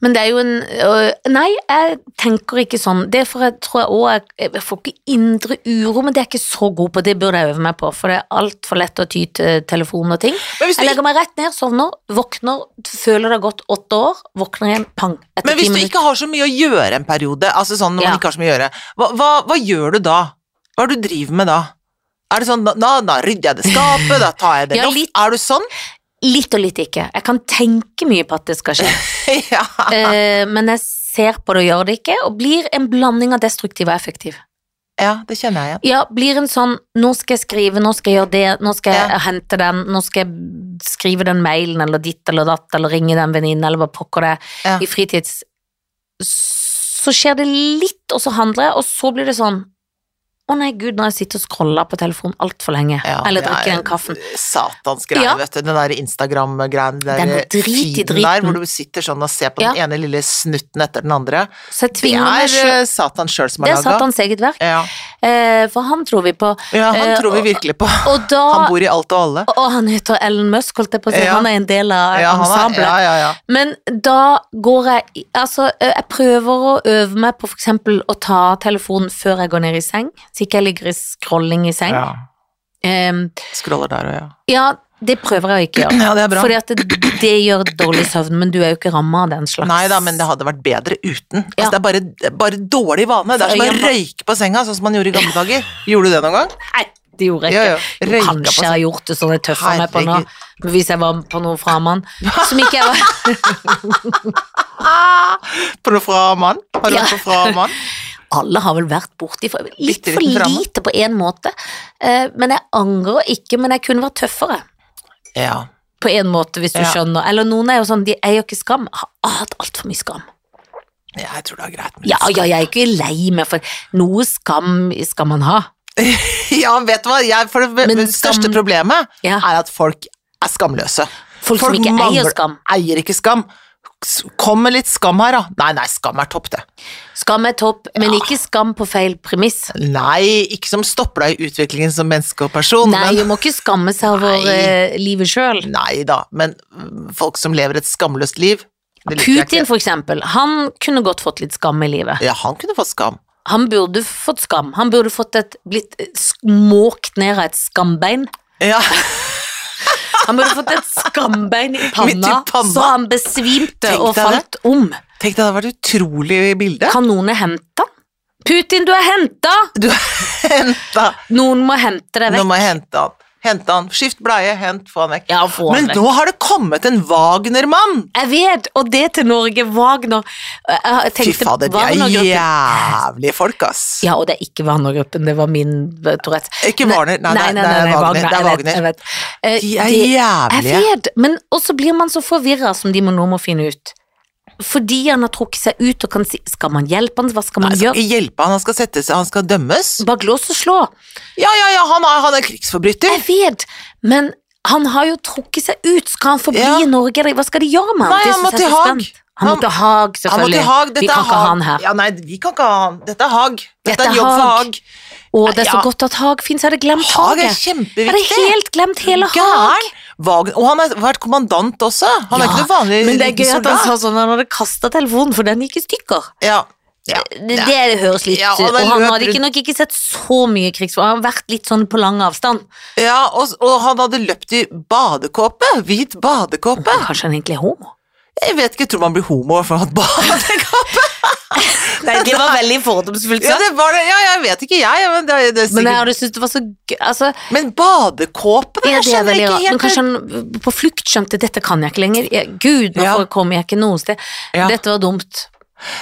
men det er jo en øh, Nei, jeg tenker ikke sånn. Det er for jeg tror jeg òg jeg, jeg får ikke indre uro, men det er jeg ikke så god på. Det burde jeg øve meg på, for det er altfor lett å ty til telefon og ting.
Men hvis
Jeg
du,
legger meg rett ned, sovner, våkner, føler det har gått åtte år, våkner igjen, pang. Etter
men hvis
ti
du
minutter.
ikke har så mye å gjøre en periode, altså sånn når
Ja.
man ikke har så mye å gjøre, hva, hva, hva gjør du da? Hva er det du driver med da? Er det sånn, da, da, da rydder jeg det skapet, da tar jeg det
Ja,
loft.
litt.
Er du sånn?
Litt og litt ikke. Jeg kan tenke mye på at det skal skje.
ja.
Eh, men jeg ser på det og gjør det ikke, og blir en blanding av destruktiv og effektiv.
ja, det kjenner jeg igjen.
Ja, blir en sånn Nå skal jeg skrive, nå skal jeg gjøre det, nå skal jeg
Ja.
hente den, nå skal jeg skrive den mailen, eller ditt eller datt, eller ringe den venninnen, eller hva pokker det er,
Ja.
i fritids. Så skjer det litt, og så handler jeg, og så blir det sånn Å nei, gud, når jeg sitter og scroller på telefonen altfor lenge,
Ja,
eller
det er
drikker den
en
kaffen.
Satans greie,
Ja.
vet du. Den der Instagram-greien, den
Den
der
er drit i
feeden der,
driten.
hvor du sitter sånn og ser på
Ja.
den ene lille snutten etter den andre.
Så jeg
Det
tvinger meg
er
sjøl
eh, Satan sjøl som
Det
har
er
laga.
Satans eget verk,
Ja.
eh, for han tror vi på.
Ja, han
Eh,
tror vi
og-
virkelig på.
Og da
Han bor i alt og alle.
Og han heter Ellen Musk, holdt jeg på å si.
Ja.
Han er en del av
Ja, han er,
ensemblet.
ja, ja, ja.
Men da går jeg i- Altså, ø, jeg prøver å øve meg på f.eks. å ta telefonen før jeg går ned i seng, så ikke jeg ligger i scrolling i seng. Ja,
ja. Scroller der og ja.
ja det prøver jeg å ikke gjøre.
Ja, det er bra.
Fordi at det, det gjør dårlig søvn, men du er jo ikke ramma av den slags.
Nei da, men det hadde vært bedre uten. Altså,
Ja.
Det er bare, det er bare dårlig vane. Det er som å
Øyene-
røyke på senga, sånn som man gjorde i gamle dager. Gjorde du det noen gang?
Nei, det gjorde jeg ikke.
Ja, ja.
Jo,
Røyka på
kanskje jeg
senga.
har gjort det sånn jeg tøffa meg på nå,
Herregud.
hvis jeg var på noe framann. Som ikke jeg var
På noe fra mann? Har du
Ja.
vært på fra mann?
Alle har vel vært borti for, Litt
Bitte
for
liten framme.
lite på én måte. Eh, Men jeg angrer ikke, men jeg kunne vært tøffere.
Ja.
på en måte, hvis du
Ja.
skjønner. Eller noen er jo sånn, de eier jo ikke skam. Har har hatt altfor mye skam.
Jeg tror det er greit. med
Ja,
litt
ja, jeg er ikke lei meg for noe skam skal man ha.
skam. ja, vet du hva? Jeg, for det,
Men
det største
skam-
problemet
Ja.
er at folk er skamløse.
Folk, som ikke eier
mangler-
skam.
Eier ikke skam. S- Kom med litt skam her, da. Nei, nei, skam er topp, det.
Skam er topp, men
Ah.
ikke skam på feil premiss.
Nei, ikke som stopper deg i utviklingen som menneske og person.
Nei,
men,
du må ikke skamme seg over
Nei.
eh, livet sjøl.
nei da, men mm, folk som lever et skamløst liv det liker jeg
Putin,
ikke.
for eksempel, han kunne godt fått litt skam i livet.
Ja, han kunne fått skam.
Han burde fått skam. Han burde fått et, blitt småkt ned av et skambein.
Ja,
Han burde fått et skambein i
Midt
panna,
i panna.
så han besvimte
Tenk
og
deg det.
falt om.
Tenk deg, det hadde vært et utrolig bilde.
Kan noen hente han? Putin, du er henta!
Du henta
Noen må hente deg
Nå
vekk.
må jeg hente han. Hente han. Skift bleie, hent, få han vekk.
Ja, få han
Men
vekk.
nå har det kommet en Wagner-mann!
Jeg vet, og det til Norge. Wagner Jeg- Jeg
Fy
tenkte
fader, de er
Wagner-gruppen.
jævlige folk, ass.
Ja, og det er ikke Wagner-gruppen, det var min eh, Tourettes.
Ikke Warner, nei, nei, det er Wagner, det er
Jeg vet, jeg
Wagner.
vet. Eh,
De er
det-
jævlige.
Jeg vet, men også blir man så forvirra som de må nå må finne ut. Fordi han har trukket seg ut og kan si Skal man hjelpe han, hva skal man
Han skal
gjøre?
ikke hjelpe han, han skal sette seg, han skal dømmes.
Bare lås og slå.
Ja, ja, ja, han er, han er krigsforbryter.
Jeg vet, men han har jo trukket seg ut. Skal han forbli
Ja.
i Norge? eller Hva skal de gjøre med han?
Nei,
Det
han
synes
må
jeg er
til
så
Haag.
spent. Han
Han-
må til Haag,
Han må
selvfølgelig.
til Haag. Dette
vi kan
er
ikke ha han her.
Ja, nei, vi kan ikke ha han. Dette er Haag. Dette,
Dette
er
er
jobb for
Haag.
Haag.
Å, det er så
Ja.
godt at Haag fins. Jeg hadde glemt
Haag er
Haag. Jeg hadde
kjempeviktig.
helt glemt hele Haag.
Gæren. Wagner- Og han har vært kommandant også. Han er
Ja,
ikke noe vanlig
Men det er
liten
gøy at han
soldat.
sa sånn han hadde kasta telefonen, for den gikk i stykker.
Ja. Ja.
Det, det høres litt
Ja, og
Og
den
han
løp
hadde ikke nok ikke sett så mye krigsfilm. Han har vært litt sånn på lang avstand.
ja og, og han hadde løpt i badekåpe. Hvit badekåpe.
Kanskje han egentlig er homo?
Jeg vet ikke, jeg tror man blir homo for å ha badekåpe.
Nei, det var veldig fordomsfullt
Ja, det var det. Ja, jeg vet ikke, jeg. Men, det, det er
Men jeg
sikkert...
hadde syntes det var så gøy altså,
men badekåpe, det
Ja, det er
skjønner
veldig
jeg
rart.
ikke
Men
helt.
kanskje han på flukt skjønte dette kan jeg ikke lenger. Jeg, Gud, nå
Ja.
får- kom jeg ikke noe sted.
Ja.
Dette var dumt.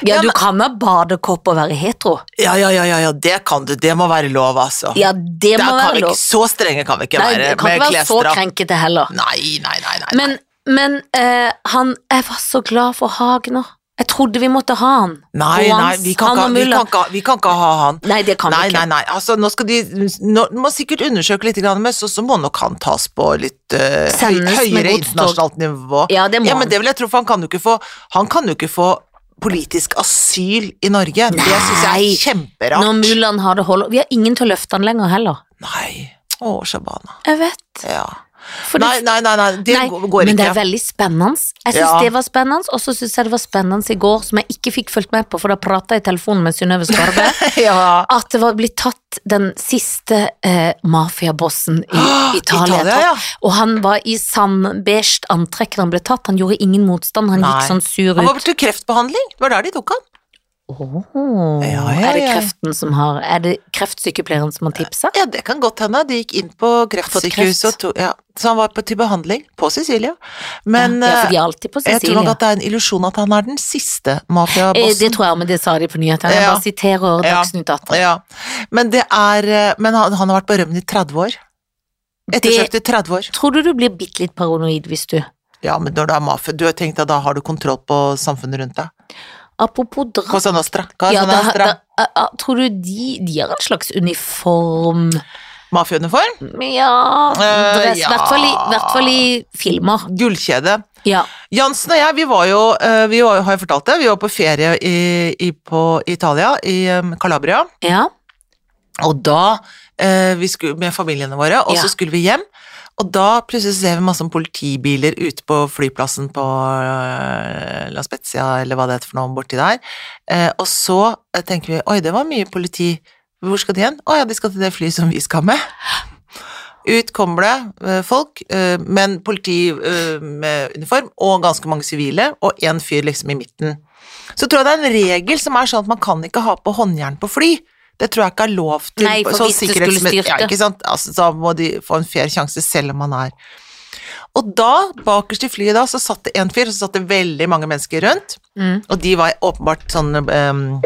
Ja,
Ja,
du
men-
kan ha badekopp og være hetero.
Ja, ja, ja, ja, ja, det kan du. Det må være lov, altså.
Ja,
Der
det må
kan vi
være
ikke,
lov.
så strenge kan vi ikke
Nei,
være
det kan
med
ikke være så
klesstraff.
krenkete heller.
Nei, nei, nei. nei.
Men, men eh, han Jeg var så glad for Hagner. Jeg trodde vi måtte ha han.
nei,
Og
nei
hans-
vi, kan
han
ikke,
og
vi,
Mulla.
kan ikke, vi kan ikke ha han.
Nei, det kan
Nei,
vi ikke.
nei, nei. Altså, nå skal de nå, må sikkert undersøke litt, grann, men så, så må nok han tas på litt eh, høy,
Sendes med
høyere
godstog.
internasjonalt nivå.
Ja, det må
ja,
han.
men det vil jeg tro, for han kan jo ikke få, han kan jo ikke få politisk asyl i Norge. Det syns jeg
Nei.
er kjemperart.
Når Mulan har det hold Vi har ingen til å løfte han lenger heller.
Nei. Å, Shabana.
Jeg vet.
Ja.
For
Nei, nei, nei, nei, det
Nei,
går- går
men det
ikke.
er veldig spennende. Jeg syns
Ja.
det var spennende, og så syns jeg det var spennende i går, som jeg ikke fikk fulgt med på, for da prata jeg i telefonen med Synnøve Skarve,
ja.
at det var blitt tatt den siste eh, mafiabossen i Italia.
Italia, ja.
Og han var i sandbeige antrekk da han ble tatt, han gjorde ingen motstand, han
Nei.
gikk sånn sur
Han
ut.
var til kreftbehandling. Det var der de tok han.
Åh,
Ja, ja,
Er det
ja.
kreften som har Er det kreftsykepleieren som har tipsa?
Ja, det kan godt hende. De gikk inn på kreftsykehuset, og to, ja. så han var på, til behandling på Sicilia. Men
ja, for
eh,
de er alltid på
jeg tror nok
Sicilia.
at det er en illusjon at han er den siste
Eh, Det
mafiabossen.
tror jeg, men det sa de på nyhetene. Jeg
Ja.
bare siterer
Ja.
Dagsnytt 18.
Ja. Men, det er, eh, men han, han har vært på rømmen i 30 år. Ettersøkt i 30 år.
Tror du du blir bitte litt paranoid hvis du
Ja, men når det er mafia Du har tenkt at da har du kontroll på samfunnet rundt deg. sånn
Apropos drap
Cosa Nostra. Cosa
ja, da,
Nostra.
da, a- a- Tror du de, de har en slags uniform
Mafiauniform.
Ja
Eh,
Dress, i
ja.
hvert fall i hvert fall i filmer.
Gullkjede.
Ja.
Jansen og jeg, vi var jo, eh, vi var, har jeg fortalt det, vi var på ferie i, i, på Italia, i eh, Calabria.
ja.
Og da eh, vi skulle, Med familiene våre, og
Ja.
så skulle vi hjem. Og da plutselig ser vi masse sånn politibiler ute på flyplassen på eh, La Spezia, eller hva det heter for noe borti der. Eh, og så eh, tenker vi oi, det var mye politi. Hvor skal de hen? Å ja, de skal til det flyet som vi skal med. Ut kommer det eh, folk, eh, men politi eh, med uniform, og ganske mange sivile, og én fyr liksom i midten. Så tror jeg det er en regel som er sånn at man kan ikke ha på håndjern på fly. Det tror jeg ikke er lov til.
Nei, for
sånn
hvis det skulle
sikkerhetsmess-
styrte.
Ja, ikke sant? Altså, da må de få en fair sjanse selv om man er Og da, bakerst i flyet da, så satt det en fyr, og så satt det veldig mange mennesker rundt,
Mm.
og de var åpenbart sånn ehm,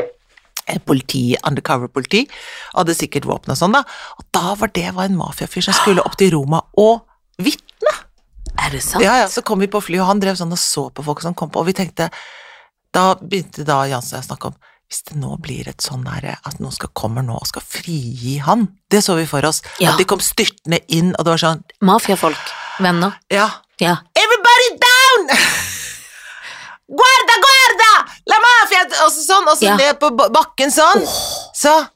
politi, undercover-politi, hadde sikkert våpen og sånn da, og da var det var en mafiafyr som skulle opp til Roma og hvitt
Er det sant?
ja, ja, så kom vi på flyet, og han drev sånn og så på folk som kom på, og vi tenkte Da begynte da Jansen og jeg å snakke om hvis det nå blir et sånn derre at noen skal kommer nå og skal frigi han Det så vi for oss.
Ja.
At de kom styrtende inn, og det var sånn
Mafiafolk. Venner.
Ja.
Ja.
Everybody down! guarda, guarda! La mafia Og så sånn, og så
Ja.
ned på ba- bakken sånn. Så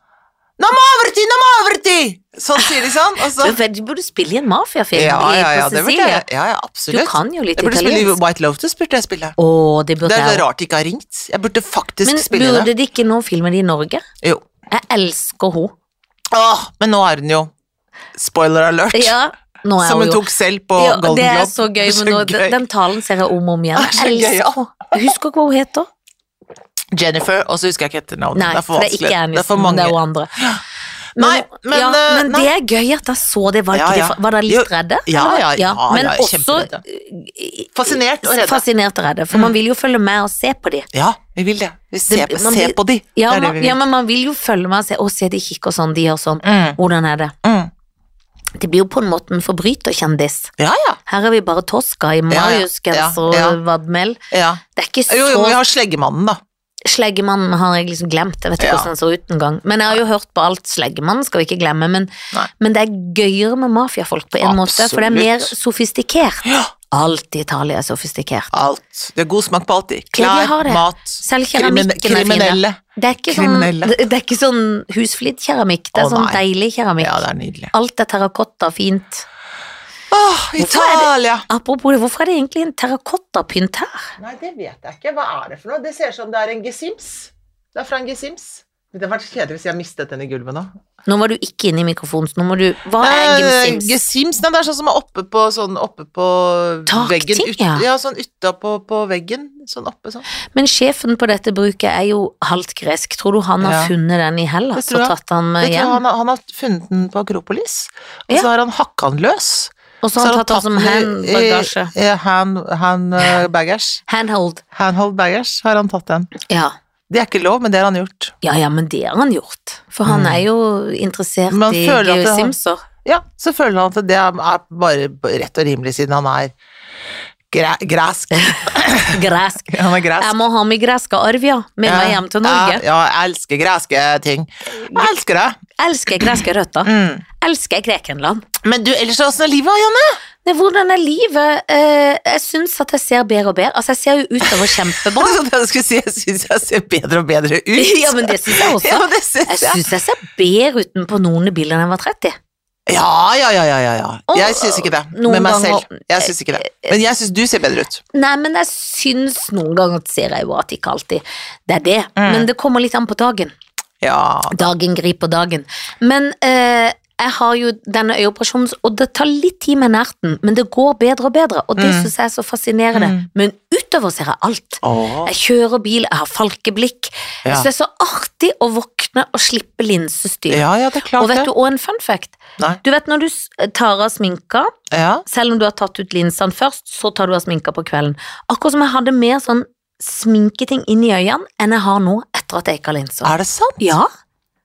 Nå må over til, nå må over til! Sånn sier de sånn, og så
Du, vet, du burde spille i en mafiafilm
Ja,
i-
ja, ja,
på
det burde
Sicilia.
jeg. Ja, ja,
Du
absolutt.
kan jo litt
Jeg burde spille i
italiensk.
White Lotus, burde jeg spille.
Å, det burde
Det er
jeg
så
også.
rart de ikke har ringt. Jeg burde faktisk
Men
spille
burde
det.
det ikke nå filme det i Norge?
Jo.
Jeg elsker henne.
Åh, men nå er hun jo Spoiler alert.
Ja, nå er
som
hun
hun
jo
tok selv på
ja,
Golden Globe.
Det er så gøy, men nå, den, den talen ser jeg om og om igjen.
Det er så
Jeg
gøy, ja.
elsker henne. Jeg husker ikke hva hun heter.
Jennifer, og så husker jeg ikke etternavnet.
Nei,
det er for
for det er
vanskelig.
ikke
Det er for
Aniston,
mange.
det er hun andre.
Nei, men,
ja,
eh,
men
nei.
det er gøy at jeg så det. Var,
Ja,
ikke
ja.
det, var dere
Jo,
litt redde?
ja,
eller?
ja, ja,
Men
ja,
også
kjemperedde. Fascinert og
eh,
redde. Mm.
fascinert og redde. For man vil jo følge med og se på de.
ja, vi vil det. Vi ser,
Det-
på-
man
se
vil-
på de.
Ja,
det er det
man,
vi
ja,
vil.
men man vil jo følge med og se. Å, se de kikker sånn, de gjør sånn.
Mm,
Hvordan er det?
mm.
Det blir jo på en måte en forbryterkjendis.
Ja, ja.
Her er vi bare Tosca i
ja,
Marius-genser
ja, ja.
og vadmel.
ja.
Det er ikke så
Jo, jo, men vi har Sleggemannen, da.
Sleggemannen har jeg liksom glemt, jeg vet ikke
Ja.
hvordan den så ut engang. Men jeg har jo hørt på alt Sleggemannen skal vi ikke glemme, men,
Nei.
men det er gøyere med mafiafolk på en måte, for det er mer
Absolutt.
sofistikert.
Ja.
Alt i Italia er sofistikert.
Alt. Det er god smak på alt, de.
Ja, de
Klær,
har det.
mat,
Selv
krimin
keramikken er fin.
kriminelle.
Det er ikke sånn,
Kriminelle.
det, det er ikke sånn husflidkeramikk, det er
Å,
sånn
nei.
deilig keramikk.
Ja, det er nydelig.
Alt er terrakotta, fint.
Åh,
er det-
Italia!
Apropos det, hvorfor er det egentlig en terrakottapynt her?
Nei, det vet jeg ikke. Hva er det for noe? Det ser ut som det er en gesims. Det er fra en gesims. Men Det hadde vært kjedelig hvis jeg mistet den i gulvet nå.
Nå var du ikke inne i mikrofonen, så nå må du Hva
Eh,
er gimsims?
gesims nei, det er sånn som er oppe på, sånn, oppe på
Takting,
veggen. ut-
ja.
ja, sånn utapå på veggen. Sånn oppe, sånn.
Men sjefen på dette bruket er jo halvt gresk. Tror du han har
Ja.
funnet den i
Det
Hellas
tror jeg.
og tatt den med
Vet du,
hjem?
han, har- han har funnet den på Akropolis, og
Ja.
så har han hakka den løs.
Og så har han tatt den som
i- i-
handbagasje.
i Hand, hand eh, baggage.
Handhold.
Handhold baggage har han tatt den.
Ja.
Det er ikke lov, men det har han gjort.
Ja, ja, men det har han gjort. For han
Mm.
er jo interessert
Men han
i
føler at det har-
geosimser.
Ja, så føler han at det er er bare rett og rimelig, siden han er græ græsk.
Gresk.
Han er græsk.
Jeg må ha min greske arv, ja. Med meg hjem til
Ja,
Norge.
ja, jeg elsker greske ting. Jeg elsker det.
Elsker greske røtter.
Mm.
Elsker Grekenland.
Men du, ellers åssen er livet, Janne?
Men hvordan er livet? Eh, jeg syns at jeg ser bedre og bedre. Altså, jeg ser jo utover kjempebra.
Så jeg skulle si, jeg syns jeg ser bedre og bedre ut.
Ja, men det syns jeg
Ja,
også.
men det synes
Jeg
jeg.
syns jeg ser bedre ut enn på noen bilder enn jeg var 30.
Ja, ja, ja, ja, ja, ja.
Og, øh,
Jeg syns ikke det.
noen øh,
Med meg
ganger-
selv. Jeg syns ikke det. Men jeg syns du ser bedre ut.
Nei, men jeg syns noen ganger at ser jeg jo at ikke alltid det er det.
Mm.
Men det kommer litt an på dagen.
Ja.
Dagen griper dagen. Men eh, jeg har jo denne øyeoperasjonen, og det tar litt tid med nerten, men det går bedre og bedre, og det
Mm.
syns jeg er så fascinerende.
Mm.
Men utover ser jeg alt.
Åh.
Jeg kjører bil, jeg har falkeblikk.
Ja.
Så det er så artig å våkne og slippe linsestyr.
ja, ja, det er klart
og vet
det.
du òg en fun fact?
Nei.
Du vet når du s- tar av sminka,
Ja.
selv om du har tatt ut linsene først, så tar du av sminka på kvelden. Akkurat som jeg hadde mer sånn sminketing inn i øynene enn jeg har nå etter at jeg ikke har linser.
Er det sant?
Ja,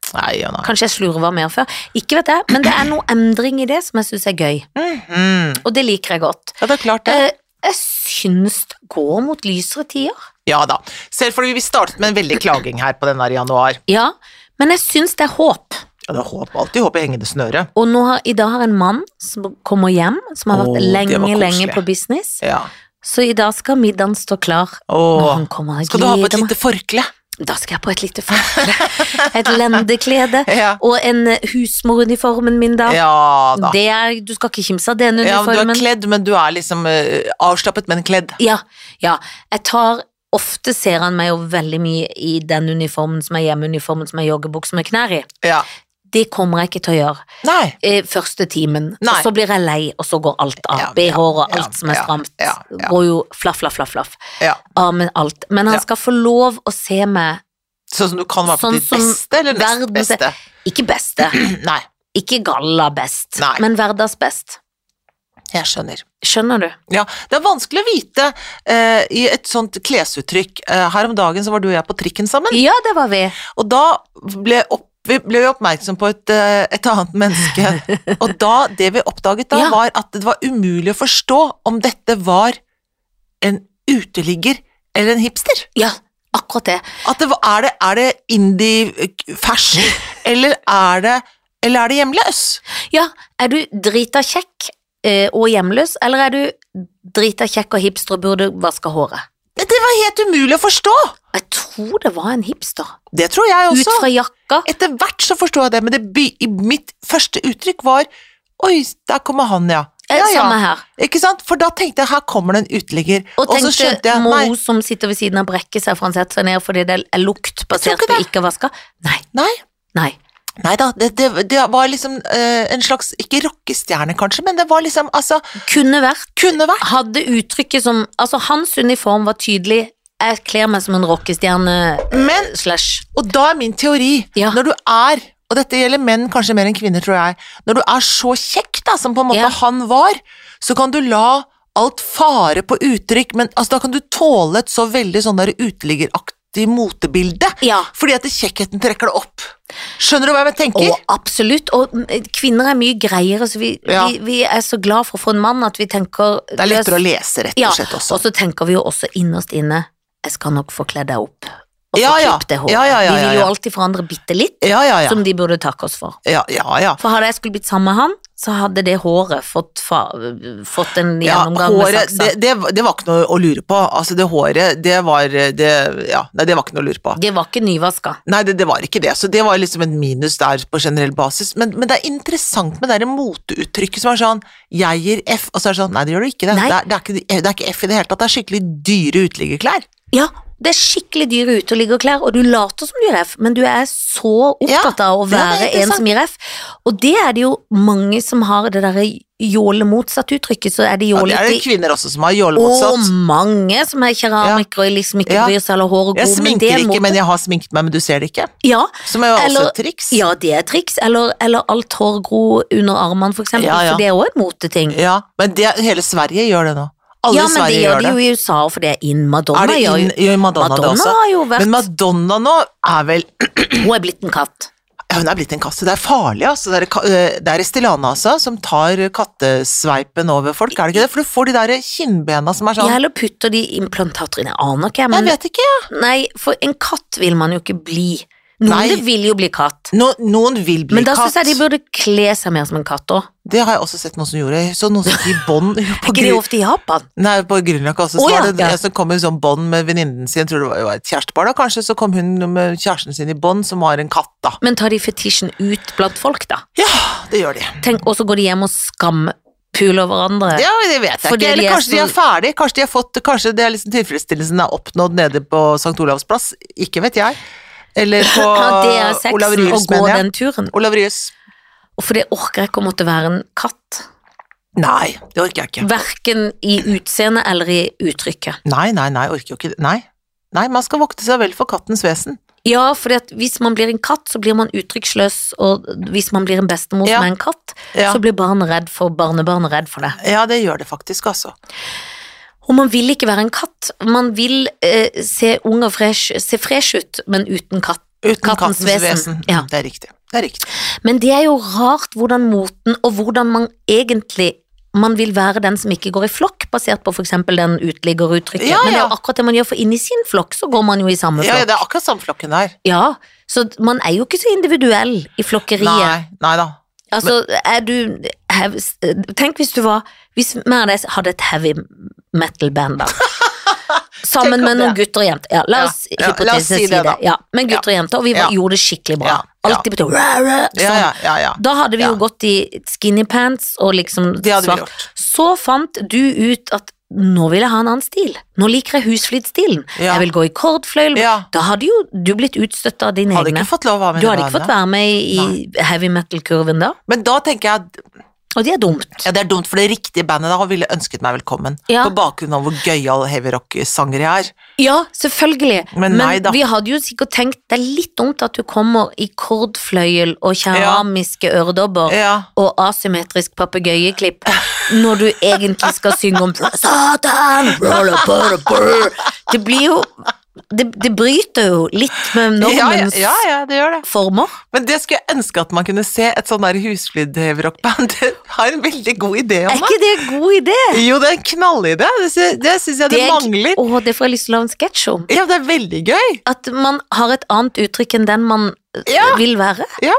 Nei, ja, nei.
kanskje jeg slurva mer før. Ikke vet jeg, men det er noe endring i det som jeg syns er gøy,
Mhm.
og det liker jeg godt.
Ja, det er klart det.
Eh, Jeg syns det går mot lysere tider.
Ja da. Selv fordi vi startet med en veldig klaging her på den der i januar.
Ja, men jeg syns det er håp.
Ja, det er håp, alltid håp i hengende snøre.
Og nå har, i dag har en mann som kommer hjem, som har
Åh,
vært
det var
lenge,
koselig.
lenge på business,
Ja.
så i dag skal middagen stå klar når
Åh.
han kommer. Jeg
Skal du ha på et
gleder meg.
lite forkle?
Da skal jeg på et lite forkle. Et lendeklede.
Ja.
Og en eh, husmoruniformen min, da.
Ja da.
Det er, du skal ikke kimse av den
Ja, men du er
uniformen.
kledd, men du er liksom eh, avslappet, men kledd.
Ja, ja. Jeg tar Ofte ser han meg jo veldig mye i den uniformen som er hjemmeuniformen som er joggebukse med knær i.
Ja.
Det kommer jeg ikke til å gjøre
Nei.
eh, første timen.
Nei.
Og så blir jeg lei, og så går alt av.
Ja,
BH-er og
ja,
alt som er
ja,
stramt,
ja, ja.
går jo flaff, flaff, flaff. flaff.
Ja.
Av med alt. Men han
Ja.
skal få lov å se meg,
Sånn som du kan være på
Sånn
ditt
som
beste, eller nest
verden ser-
beste.
ikke beste,
Nei,
ikke galla best,
Nei.
men hverdags best.
jeg skjønner.
Skjønner du?
Ja, det er vanskelig å vite eh, i et sånt klesuttrykk. Eh, her om dagen så var du og jeg på trikken sammen,
Ja, det var vi.
og da ble, opp, vi ble vi oppmerksom på et, eh, et annet menneske. Og da, det vi oppdaget da,
Ja.
var at det var umulig å forstå om dette var en uteligger eller en hipster.
Ja, akkurat det.
At det var, er det, er det indie-fersk, eller er det, eller er det hjemløs?
Ja, er du drita kjekk eh, og hjemløs, eller er du drita kjekk og hipster og burde vaske håret?
Det var helt umulig å forstå!
Jeg tror det var en hipster.
Det tror jeg
Ut
også.
fra jakka.
Etter hvert så forsto jeg det, men det by, i mitt første uttrykk var Oi, der kommer han, ja.
Eh,
ja, ja.
Samme her.
Ikke sant? For da tenkte jeg her kommer det en uteligger.
Og
så skjønte
tenkte
jeg
må
nei,
hun som sitter ved siden av brekke seg for han setter seg ned fordi det er lukt basert
Jeg tror ikke
på ikke å vaske? Nei,
nei,
nei.
nei da. Det, det, det var liksom eh, en slags Ikke rockestjerne, kanskje, men det var liksom Altså,
Kunne vært.
kunne vært
Hadde uttrykket som Altså, hans uniform var tydelig. Jeg kler meg som en rockestjerne
Men
slash
Og da er min teori,
Ja.
når du er, og dette gjelder menn kanskje mer enn kvinner, tror jeg, når du er så kjekk da, som på en måte
Ja.
han var, så kan du la alt fare på uttrykk, men altså, da kan du tåle et så veldig sånn der uteliggeraktig motebilde,
Ja.
fordi at kjekkheten trekker det opp. Skjønner du hva jeg tenker?
Og absolutt, og mm, kvinner er mye greiere, så vi,
Ja.
vi, vi er så glad for å få en mann at vi tenker
det er lettere å lese, rett
Ja,
og slett også.
Og så tenker vi jo også innerst inne Jeg skal nok få kledd deg opp og
Ja,
få
ja.
klippet det håret.
Ja, ja, ja,
vi
ja,
vil jo
ja.
alltid forandre bitte litt,
Ja, ja, ja.
som de burde takke oss for.
Ja, ja, ja.
For hadde jeg skulle blitt sammen med han, så hadde det håret fått, fa fått en
Ja,
gjennomgang med
håret, det,
saksa. Det,
det, det var ikke noe å lure på. Altså, det håret, det var det, Ja, nei, det var ikke noe å lure på.
var ikke nyvaska.
Nei, det, det var ikke det, så det var liksom en minus der på generell basis. Men, men det er interessant med det der moteuttrykket som er sånn 'jeg gir F', og så er det sånn 'nei, det gjør du ikke'. Det,
Nei.
det, er, det, er, ikke, det er ikke F i det hele tatt, det er skikkelig dyre uteliggerklær.
Ja, det er skikkelig dyre uteliggerklær, og du later som du gir F, men du er så opptatt av å
Ja, det er
være en
interessant.
som gir F. Og det er det jo mange som har det derre jåle motsatt uttrykket, så er de
Ja, det
jålete
er det kvinner også som har jåle
og
motsatt.
mange som er keramikere og liksom ikke
Ja.
bryr seg eller håret
Jeg
går, men det
sminker
er
ikke,
mote.
men jeg har sminket meg, men du ser det ikke.
Ja,
Som er jo også
Eller-
et triks.
ja, det er et triks. Eller, eller alt hår gro under armene, for eksempel,
Ja, ja.
for det er òg en moteting.
Ja, men det, hele Sverige gjør det nå. Alle
ja,
i
men de
Sverige
gjør
gjør
det
det.
jo i USA fordi In Madonna
er det
gjør
inn,
jo
gjør Madonna, det
Madonna
også?
har jo vært
Men Madonna nå er vel
Hun er blitt en katt.
Hun er blitt en katt. så Det er farlig, altså. Det er, ka- øh, det er Estilana, altså, som tar kattesveipen over folk, er det ikke det? For du får de der kinnbena som er
Jeg
sånn
heller putter de implantater inn, jeg aner ikke,
Jeg
jeg, men
vet ikke, jeg.
nei, for en katt vil man jo ikke bli. Noen
Nei.
vil jo bli katt,
No, noen vil bli
men da
katt.
syns jeg de burde kle seg mer som en katt òg.
Det har jeg også sett noen som gjorde. Jeg Så noen som gikk i bånd på
Er ikke det
gru-
ofte i Japan?
Nei, på Grünerløkka også. Så
Å, ja,
var det
ja.
en som kom i sånn bånd med venninnen sin, jeg tror det var- det var et kjærestepar da, kanskje, så kom hun med kjæresten sin i bånd, som var en katt, da.
Men tar de fetisjen ut blant folk, da?
Ja, det gjør de.
Tenk, Og så går de hjem og skampuler hverandre.
Ja, det vet jeg
Fordi
ikke.
de
Eller
er
kanskje de
så-
er ferdig, kanskje de har fått Kanskje det er liksom tilfredsstillelsen er oppnådd nede på St. Olavs plass. Ikke vet jeg. Eller på
Ja, det er sexen
Olav
å
Ryes,
gå
mener jeg.
den turen.
Olav Ryes.
Og for det orker jeg ikke å måtte være en katt.
Nei, det orker jeg ikke.
Verken i utseende eller i uttrykket.
Nei, nei, nei, orker jo ikke det. Nei. Nei, man skal vokte seg vel for kattens vesen.
Ja, fordi at hvis man blir en katt, så blir man uttrykksløs, og hvis man blir en bestemor
Ja.
som er en katt,
Ja.
så blir barnet redd for barnebarnet redd for det.
ja, det gjør det faktisk, altså.
Og man vil ikke være en katt. Man vil eh, se ung og fresh, se fresh ut, men uten katt.
Uten
Kattens
kattens, vesen. Mm,
vesen, ja.
Det er riktig. Det er riktig.
Men det er jo rart hvordan moten, og hvordan man egentlig man vil være den som ikke går i flokk, basert på f.eks. den uteliggeruttrykket.
Ja,
Men det er
ja.
jo akkurat det man gjør, for inni sin flokk så går man jo i
Ja,
samme
ja,
flokk.
det er akkurat samme flokken der.
Ja, så man er jo ikke så individuell i flokkeriet.
Nei, nei da.
Altså, er du hev, Tenk hvis du var Hvis meg og deg hadde et heavy metal-band, da.
Tenk
Sammen
om
med noen
det.
gutter og jenter. Ja, la oss
Ja, ja,
hypotetisk
la oss si
si det.
det, da.
Ja, men gutter og jenter, og vi var,
Ja.
gjorde det skikkelig bra.
Ja, ja.
Alltid på sånn.
Ja, ja, ja. ja.
Da hadde vi
Ja.
jo gått i skinny pants og liksom
Det hadde vi
svart.
gjort.
Så fant du ut at nå vil jeg ha en annen stil. Nå liker jeg husflidsstilen.
Ja.
Jeg vil gå i kordfløyel.
Ja.
Da hadde jo du blitt utstøtt av dine
Hadde
egne.
ikke fått lov av
Du
mine
hadde ikke fått
venner.
være med i heavy metal-kurven da,
Men da tenker jeg at
og det er dumt.
Ja, det er dumt, for det riktige bandet da ville ønsket meg velkommen.
Ja.
På bakgrunn av hvor gøyal heavy rock-sanger jeg er.
Ja, selvfølgelig.
Men nei da.
vi hadde jo sikkert tenkt det er litt dumt at du kommer i kordfløyel og keramiske øredobber
Ja.
og asymmetrisk papegøyeklipp når du egentlig skal synge om Satan! Det blir jo Det, det bryter jo litt med
Ja, ja,
normens
ja, ja, det gjør det.
former.
Men det skulle jeg ønske at man kunne se et sånn der husflid-heavy rock-band. Det har en veldig god idé
Er
om det.
ikke det en god idé?
Jo, det er en knallidé. Det sy- Det syns jeg det
er-
mangler.
Åh, det får jeg lyst til å lage en sketsj om.
Ja, det er veldig gøy.
At man har et annet uttrykk enn den man eh,
Ja.
vil være.
Ja.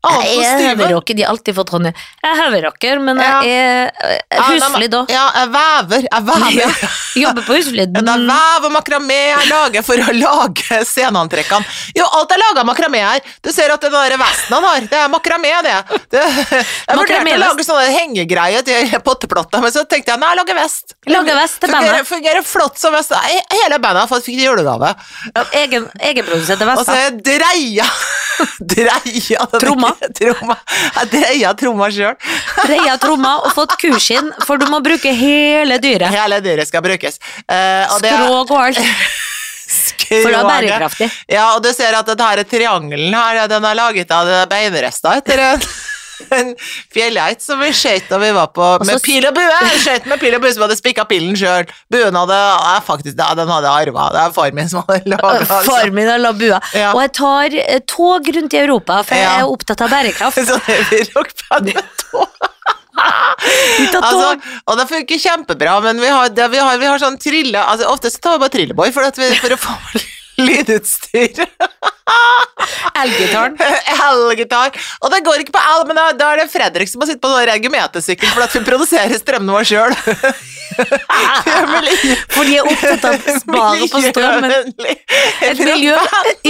Annet
Jeg
på
er
stuen.
høverocker, de er alltid fra Trondheim. Jeg er høverocker, men
Ja.
jeg er eh, husflid òg.
Ja, jeg vever. Jeg
Ja.
vever.
Jobber på husflid. Mm.
Ja, Det er vev og makramé jeg lager for å lage sceneantrekkene. Jo, alt er laga av makramé her. Du ser at den der vesten han har, det er makramé, det. det jeg vurderte å
Makramé-vest.
lage sånne hengegreier til potteplatta, men så tenkte jeg nei, jeg lager vest.
Lager vest til
fungerer,
bandet.
fungerer flott som vest. Nei, Hele bandet har fått fikk julegave.
Egen, egenprodusert
Og så
vest.
har jeg dreia Dreia den-
Tromma.
tromma. Jeg dreia tromma sjøl.
Dreia tromma og fått kuskinn, for du må bruke hele dyret.
Hele dyret skal brukes. Eh, og det er-
Skrog og alt. For det er bærekraftig.
Ja, og du ser at den her triangelen her, den er laget av det beinrester etter en, en fjellgeit som vi skjøt da vi var på
Og så-
med pil og bue. Vi Skjøt med pil og bue som hadde spikka pillen sjøl. Buen hadde ja, faktisk, ja, den hadde arva. Det er far min som hadde altså. laga
Far min har la bua.
Ja.
Og jeg tar eh, tog rundt i Europa, for
Ja.
jeg er opptatt av bærekraft.
sånn heavy-rock-band med tog.
Ut av
Altså,
tog.
og det funker kjempebra, men vi har, det, vi har, vi har sånn trille altså, Ofte så tar vi bare trilleboy for, at vi, for å få lydutstyr.
Elgitaren.
Elgitar. Og det går ikke på el, men da, da er det Fredrik som må sitte på en regimetersykkel for at vi produserer strømmen vår sjøl.
For de er opptatt av å spare på strømmen. Et miljø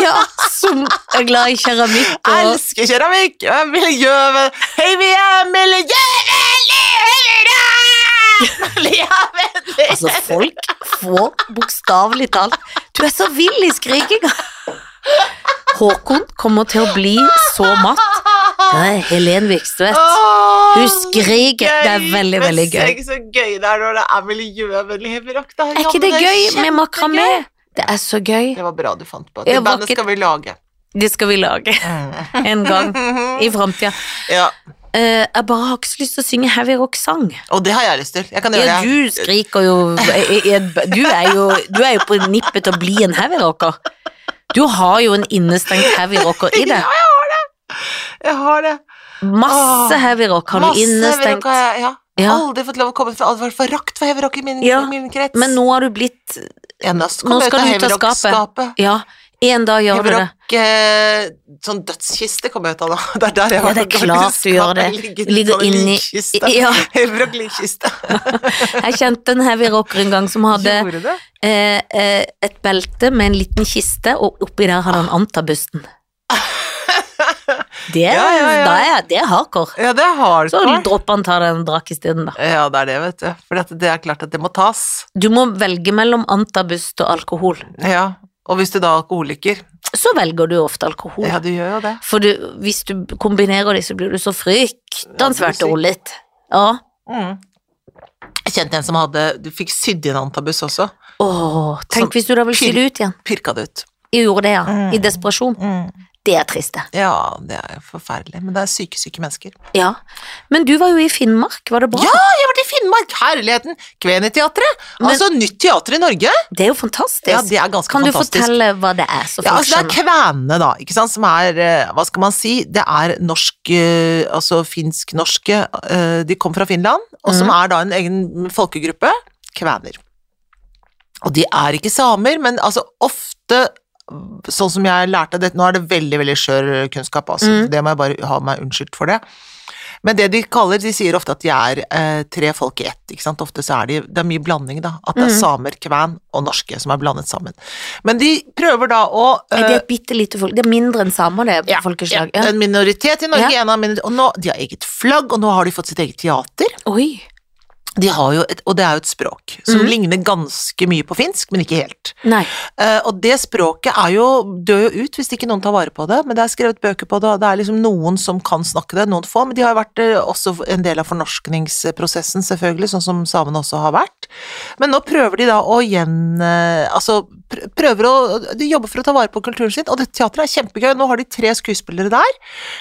ja, som er glad i keramikk og
Elsker keramikk! og er Miljøven Hei, vi er miljøvennlige! Miljøvennlige!
Altså, folk får bokstavelig talt Du er så vill i skrikinga! Håkon kommer til å bli så matt. Det er Helen Vikstvedt.
Åh,
Hun skriker. Det er
gøy.
veldig,
Men
veldig gøy.
tenk så gøy det er når det er miljøvennlig hebrok. da.
Er
Ja, men
ikke det gøy med
kjempegøy.
makramé? Det er så gøy.
Det var bra du fant på.
Jeg
Det
var
bandet
ikke-
skal vi lage.
Det skal vi lage en gang i framtida.
Ja.
Eh, jeg bare har ikke så lyst til å synge heavy rock-sang.
Og det har jeg lyst til. Jeg kan gjøre
Ja,
det.
du skriker jo jeg- jeg- du er, jo du er jo på nippet til å bli en heavy rocker. Du har jo en innestengt heavy rocker i deg.
Jeg har det.
Masse heavy rock har du
Masse heavyrock
innestengt.
har jeg- Ja.
Ja.
Aldri fått lov å komme fra Aldri vært forakt for heavyrock i min,
Ja,
i min krets.
Men nå har du blitt
ja, nå skal,
nå
jeg
skal du ut av
heavyrock-
skapet.
skapet.
Ja, en dag gjør du det.
Heavyrock eh, Sånn dødskiste kommer jeg ut av nå. Det er der jeg
Ja, det er klart du gjør det. Ligger inni- Ja.
Heavyrock likkiste.
Jeg kjente en heavy rocker en gang som hadde
Gjorde det?
eh, eh, et belte med en liten kiste, og oppi der hadde han
Ah.
antabusten. Det, er-
Ja, ja, ja.
Da er, det er hardcore.
Ja, det har du.
Så
Karl.
dropper han ta den og drakk isteden, da.
Ja, det er det, vet du. For dette- det er klart at det må tas.
Du må velge mellom antabust og alkohol.
Ja. Og hvis du da er alkoholiker
Så velger du ofte alkohol.
Ja, du gjør jo det.
For du, hvis du kombinerer de, så blir du så fryktansvært
Ja, du
dårlig. Ja.
Mm. Jeg kjente en som hadde Du fikk sydd inn antabus også.
Åh, tenk
Sånn
hvis du da vil si
pyr-
det ut igjen.
Pirka det ut.
Jeg gjorde det, ja.
Mm.
I desperasjon. Det er trist, det.
Ja, det er jo forferdelig. Men det er syke, syke mennesker.
Ja. Men du var jo i Finnmark, var det bra?
Ja, jeg har vært i Finnmark! Herligheten! Kveneteatret!
Men-
Altså, nytt teater i Norge!
Det er jo fantastisk.
Ja, det er ganske
kan du
fantastisk.
fortelle hva det er, så
Ja,
folk
altså Det er
skjønner?
kvenene, da, ikke sant, som er eh, Hva skal man si? Det er norsk eh, Altså finsk-norske eh, De kom fra Finland, og som
Mm.
er da en egen folkegruppe. Kvener. Og de er ikke samer, men altså ofte Sånn som jeg lærte det, nå er det veldig veldig skjør kunnskap, altså.
Mm.
Det må jeg bare ha meg unnskyldt for det. Men det de kaller, de sier ofte at de er eh, tre folk i ett, ikke sant. Ofte så er de Det er mye blanding, da. At det er
Mm.
samer, kven og norske som er blandet sammen. Men de prøver da å
Nei, det
eh,
er et bitte lite folk. Det er mindre enn samer, det,
ja,
folkeslag.
ja,
Ja.
En minoritet i Norge,
Ja.
en av minor- og nå, de har eget flagg, og nå har de fått sitt eget teater.
Oi.
De har jo et, og det er jo et språk som
Mhm.
ligner ganske mye på finsk, men ikke helt.
Nei.
Eh, og det språket er jo, dør jo ut hvis ikke noen tar vare på det, men det er skrevet bøker på det, og det er liksom noen som kan snakke det, noen få, men de har jo vært eh, også en del av fornorskningsprosessen, selvfølgelig, sånn som samene også har vært. Men nå prøver de da å gjen... eh, altså, pr- prøver å De jobber for å ta vare på kulturen sin, og det teatret er kjempegøy. Nå har de tre skuespillere der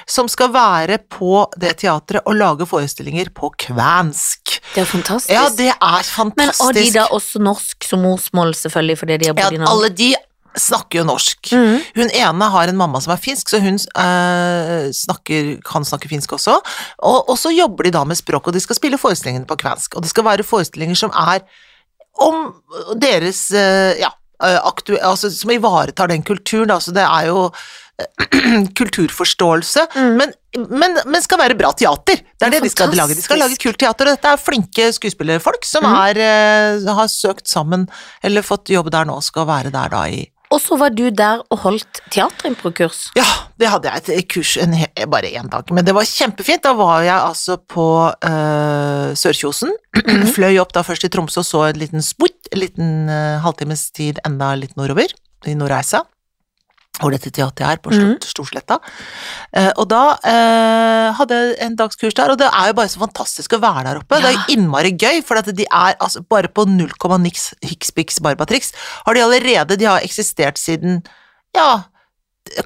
som skal være på det teatret og lage forestillinger på kvensk.
Det er fantastisk.
Ja, det er fantastisk.
Men har de da også norsk som morsmål, selvfølgelig, fordi de har
Ja,
bodd i Norge?
alle de snakker jo norsk.
Mhm.
Hun ene har en mamma som er finsk, så hun eh, snakker, kan snakke finsk også. Og, og så jobber de da med språk, og de skal spille forestillingene på kvensk. Og det skal være forestillinger som er om deres eh, Ja, eh, aktu altså som ivaretar den kulturen, da. Så det er jo eh, kulturforståelse.
Mm.
Men, men, men skal være bra teater. Det er det de skal lage. De skal lage
Fantastisk.
kult teater, og dette er flinke skuespillerfolk som
Mhm.
er, eh, har søkt sammen, eller fått jobb der nå, og skal være der da i
Og så var du der og holdt teaterimpro-kurs.
Ja, det hadde jeg et kurs en, he- bare én dag, men det var kjempefint. Da var jeg altså på eh, Sørkjosen. Fløy opp da først til Tromsø og så en liten sport, en liten eh, halvtimes tid enda litt nordover, i Nordreisa. Hvor dette teatret er, på Stor- Storsletta. Eh, og da eh, hadde jeg en dagskurs der, og det er jo bare så fantastisk å være der oppe. Det er jo innmari gøy, for at de er altså bare på null komma niks hikspiks barbatriks. Har de allerede De har eksistert siden ja,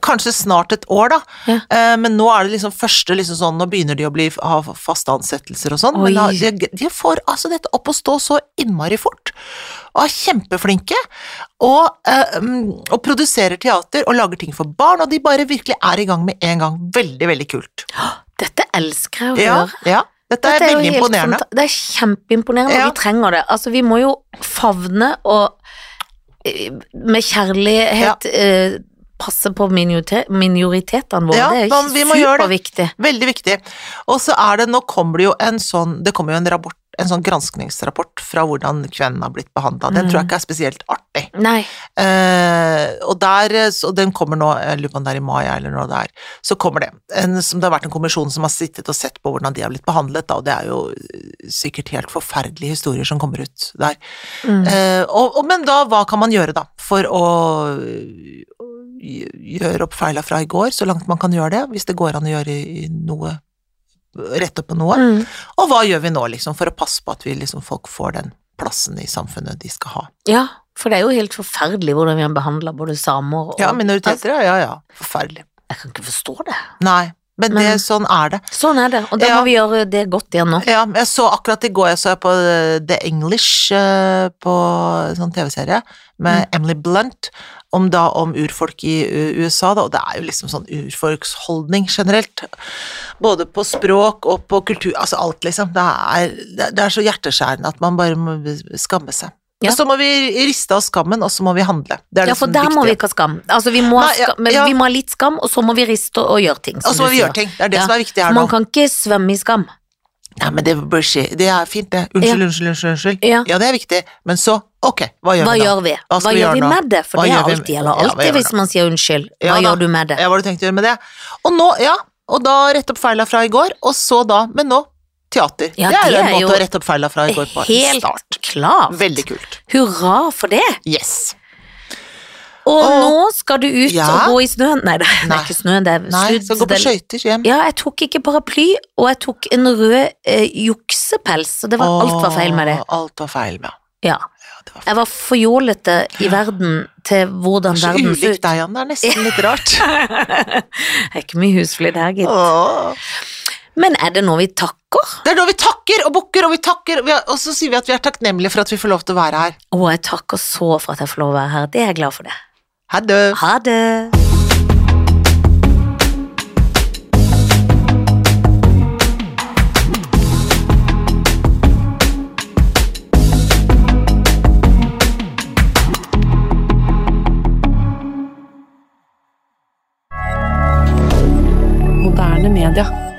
kanskje snart et år, da.
Ja.
Eh, men nå er det liksom første liksom sånn, nå begynner de å bli, ha faste ansettelser og sånn.
Oi.
Men da, de, de får altså dette opp å stå så innmari fort, og er kjempeflinke. Og, eh, mm, og produserer teater og lager ting for barn, og de bare virkelig er i gang med en gang. Veldig, veldig kult.
Dette elsker jeg å
Ja,
høre.
ja. Dette er,
Dette jo
veldig
helt
imponerende.
fanta- Det er kjempeimponerende,
Ja.
og vi trenger det. Altså, vi må jo favne og eh, med kjærlighet eh, passe på minorite- minoritetene våre.
Ja,
det er
da- vi må gjøre
superviktig.
Veldig viktig. Og så er det, nå kommer det jo en sånn, det kommer jo en rapport, en sånn granskningsrapport fra hvordan kvenene har blitt behandla. Den
Mm.
tror jeg ikke er spesielt artig.
Nei.
Eh, og der, eh, så den kommer nå, jeg lurer på om det er i mai eller når det er, så kommer det. En, som det har vært en kommisjon som har sittet og sett på hvordan de har blitt behandlet, da, og det er jo eh, sikkert helt forferdelige historier som kommer ut der.
Mm.
Eh, og, og, men da, hva kan man gjøre da, for å øh, gjøre opp feila fra i går, så langt man kan gjøre det, hvis det går an å gjøre i- i noe, rette opp på noe?
Mm.
Og hva gjør vi nå, liksom, for å passe på at vi, liksom, folk får den plassen i samfunnet de skal ha?
Ja, for det er jo helt forferdelig hvordan vi behandler både samer og Altså,
Ja, minoriteter, ja, ja, ja. Forferdelig.
Jeg kan ikke forstå det.
Nei. men,
Men-
det, sånn er det.
Sånn er det, og da
Ja.
må vi gjøre det godt igjen nå.
Ja, men jeg så akkurat i går, jeg så på eh, The English eh, på en sånn TV-serie med
Mm.
Emily Blunt, om da om urfolk i eh, USA, da, og det er jo liksom sånn urfolksholdning generelt. Både på språk og på kultur, altså alt liksom. Det er, det det er så hjerteskjærende at man bare må skamme seg.
Ja.
Og så må vi riste av skammen, og så må vi handle. Det er
Ja,
det
for
som
der
er
må vi
viktig.
ikke ha skam. Altså, vi må, ha
Nei, ja,
skam men
ja.
vi må ha litt skam, og så må vi riste og, og gjøre ting.
Og så må vi gjøre ting. Det er det
Ja.
som er viktig her nå.
Man kan ikke svømme i skam.
Nei, men det bør skje. Det er fint, det. Unnskyld, unnskyld, unnskyld. unnskyld.
Ja.
det er viktig. Men så, ok, hva gjør
Hva
vi da?
gjør vi?
Hva
Hva,
skal vi gjøre
gjør vi
nå?
med det? For
Hva
det
gjør
er
vi
alltid,
med-
eller
Ja, hva
alltid
gjør vi
hvis
nå?
man sier unnskyld. Hva
Ja da.
gjør du med det?
Ja, hva har du tenkt å gjøre med det? Og nå, ja, og da rette opp feila fra i går, og så da, men nå, teater.
Ja,
det er
det
en
er
måte
jo
å rette opp feila fra i går på.
Helt
Start.
klart.
Veldig kult.
Hurra for det.
Yes.
Og,
Og-
nå skal du ut
Ja.
og gå i snøen. Nei, det
Nei.
er ikke snøen, det er
Nei,
sludd.
skal gå på
Det-
skøyter hjem.
Ja, jeg tok ikke paraply, og jeg tok en rød eh, juksepels, så det var, alt var feil med det.
Åh, Alt var feil med
Ja.
ja, det. Var feil.
Jeg var for jålete i verden til hvordan
Så
verden så
ulik
ut.
deg, Anne. Det er nesten litt rart.
Det er ikke mye husflid her, gitt.
Åh.
Men er det noe vi takker?
Det er da vi takker og bukker, og vi takker, og vi er- og så sier vi at vi er takknemlige for at vi får lov til å være her.
Å, jeg takker så for at jeg får lov å være her. Det er jeg glad for det.
Ha det!
Ha det!
moderne media.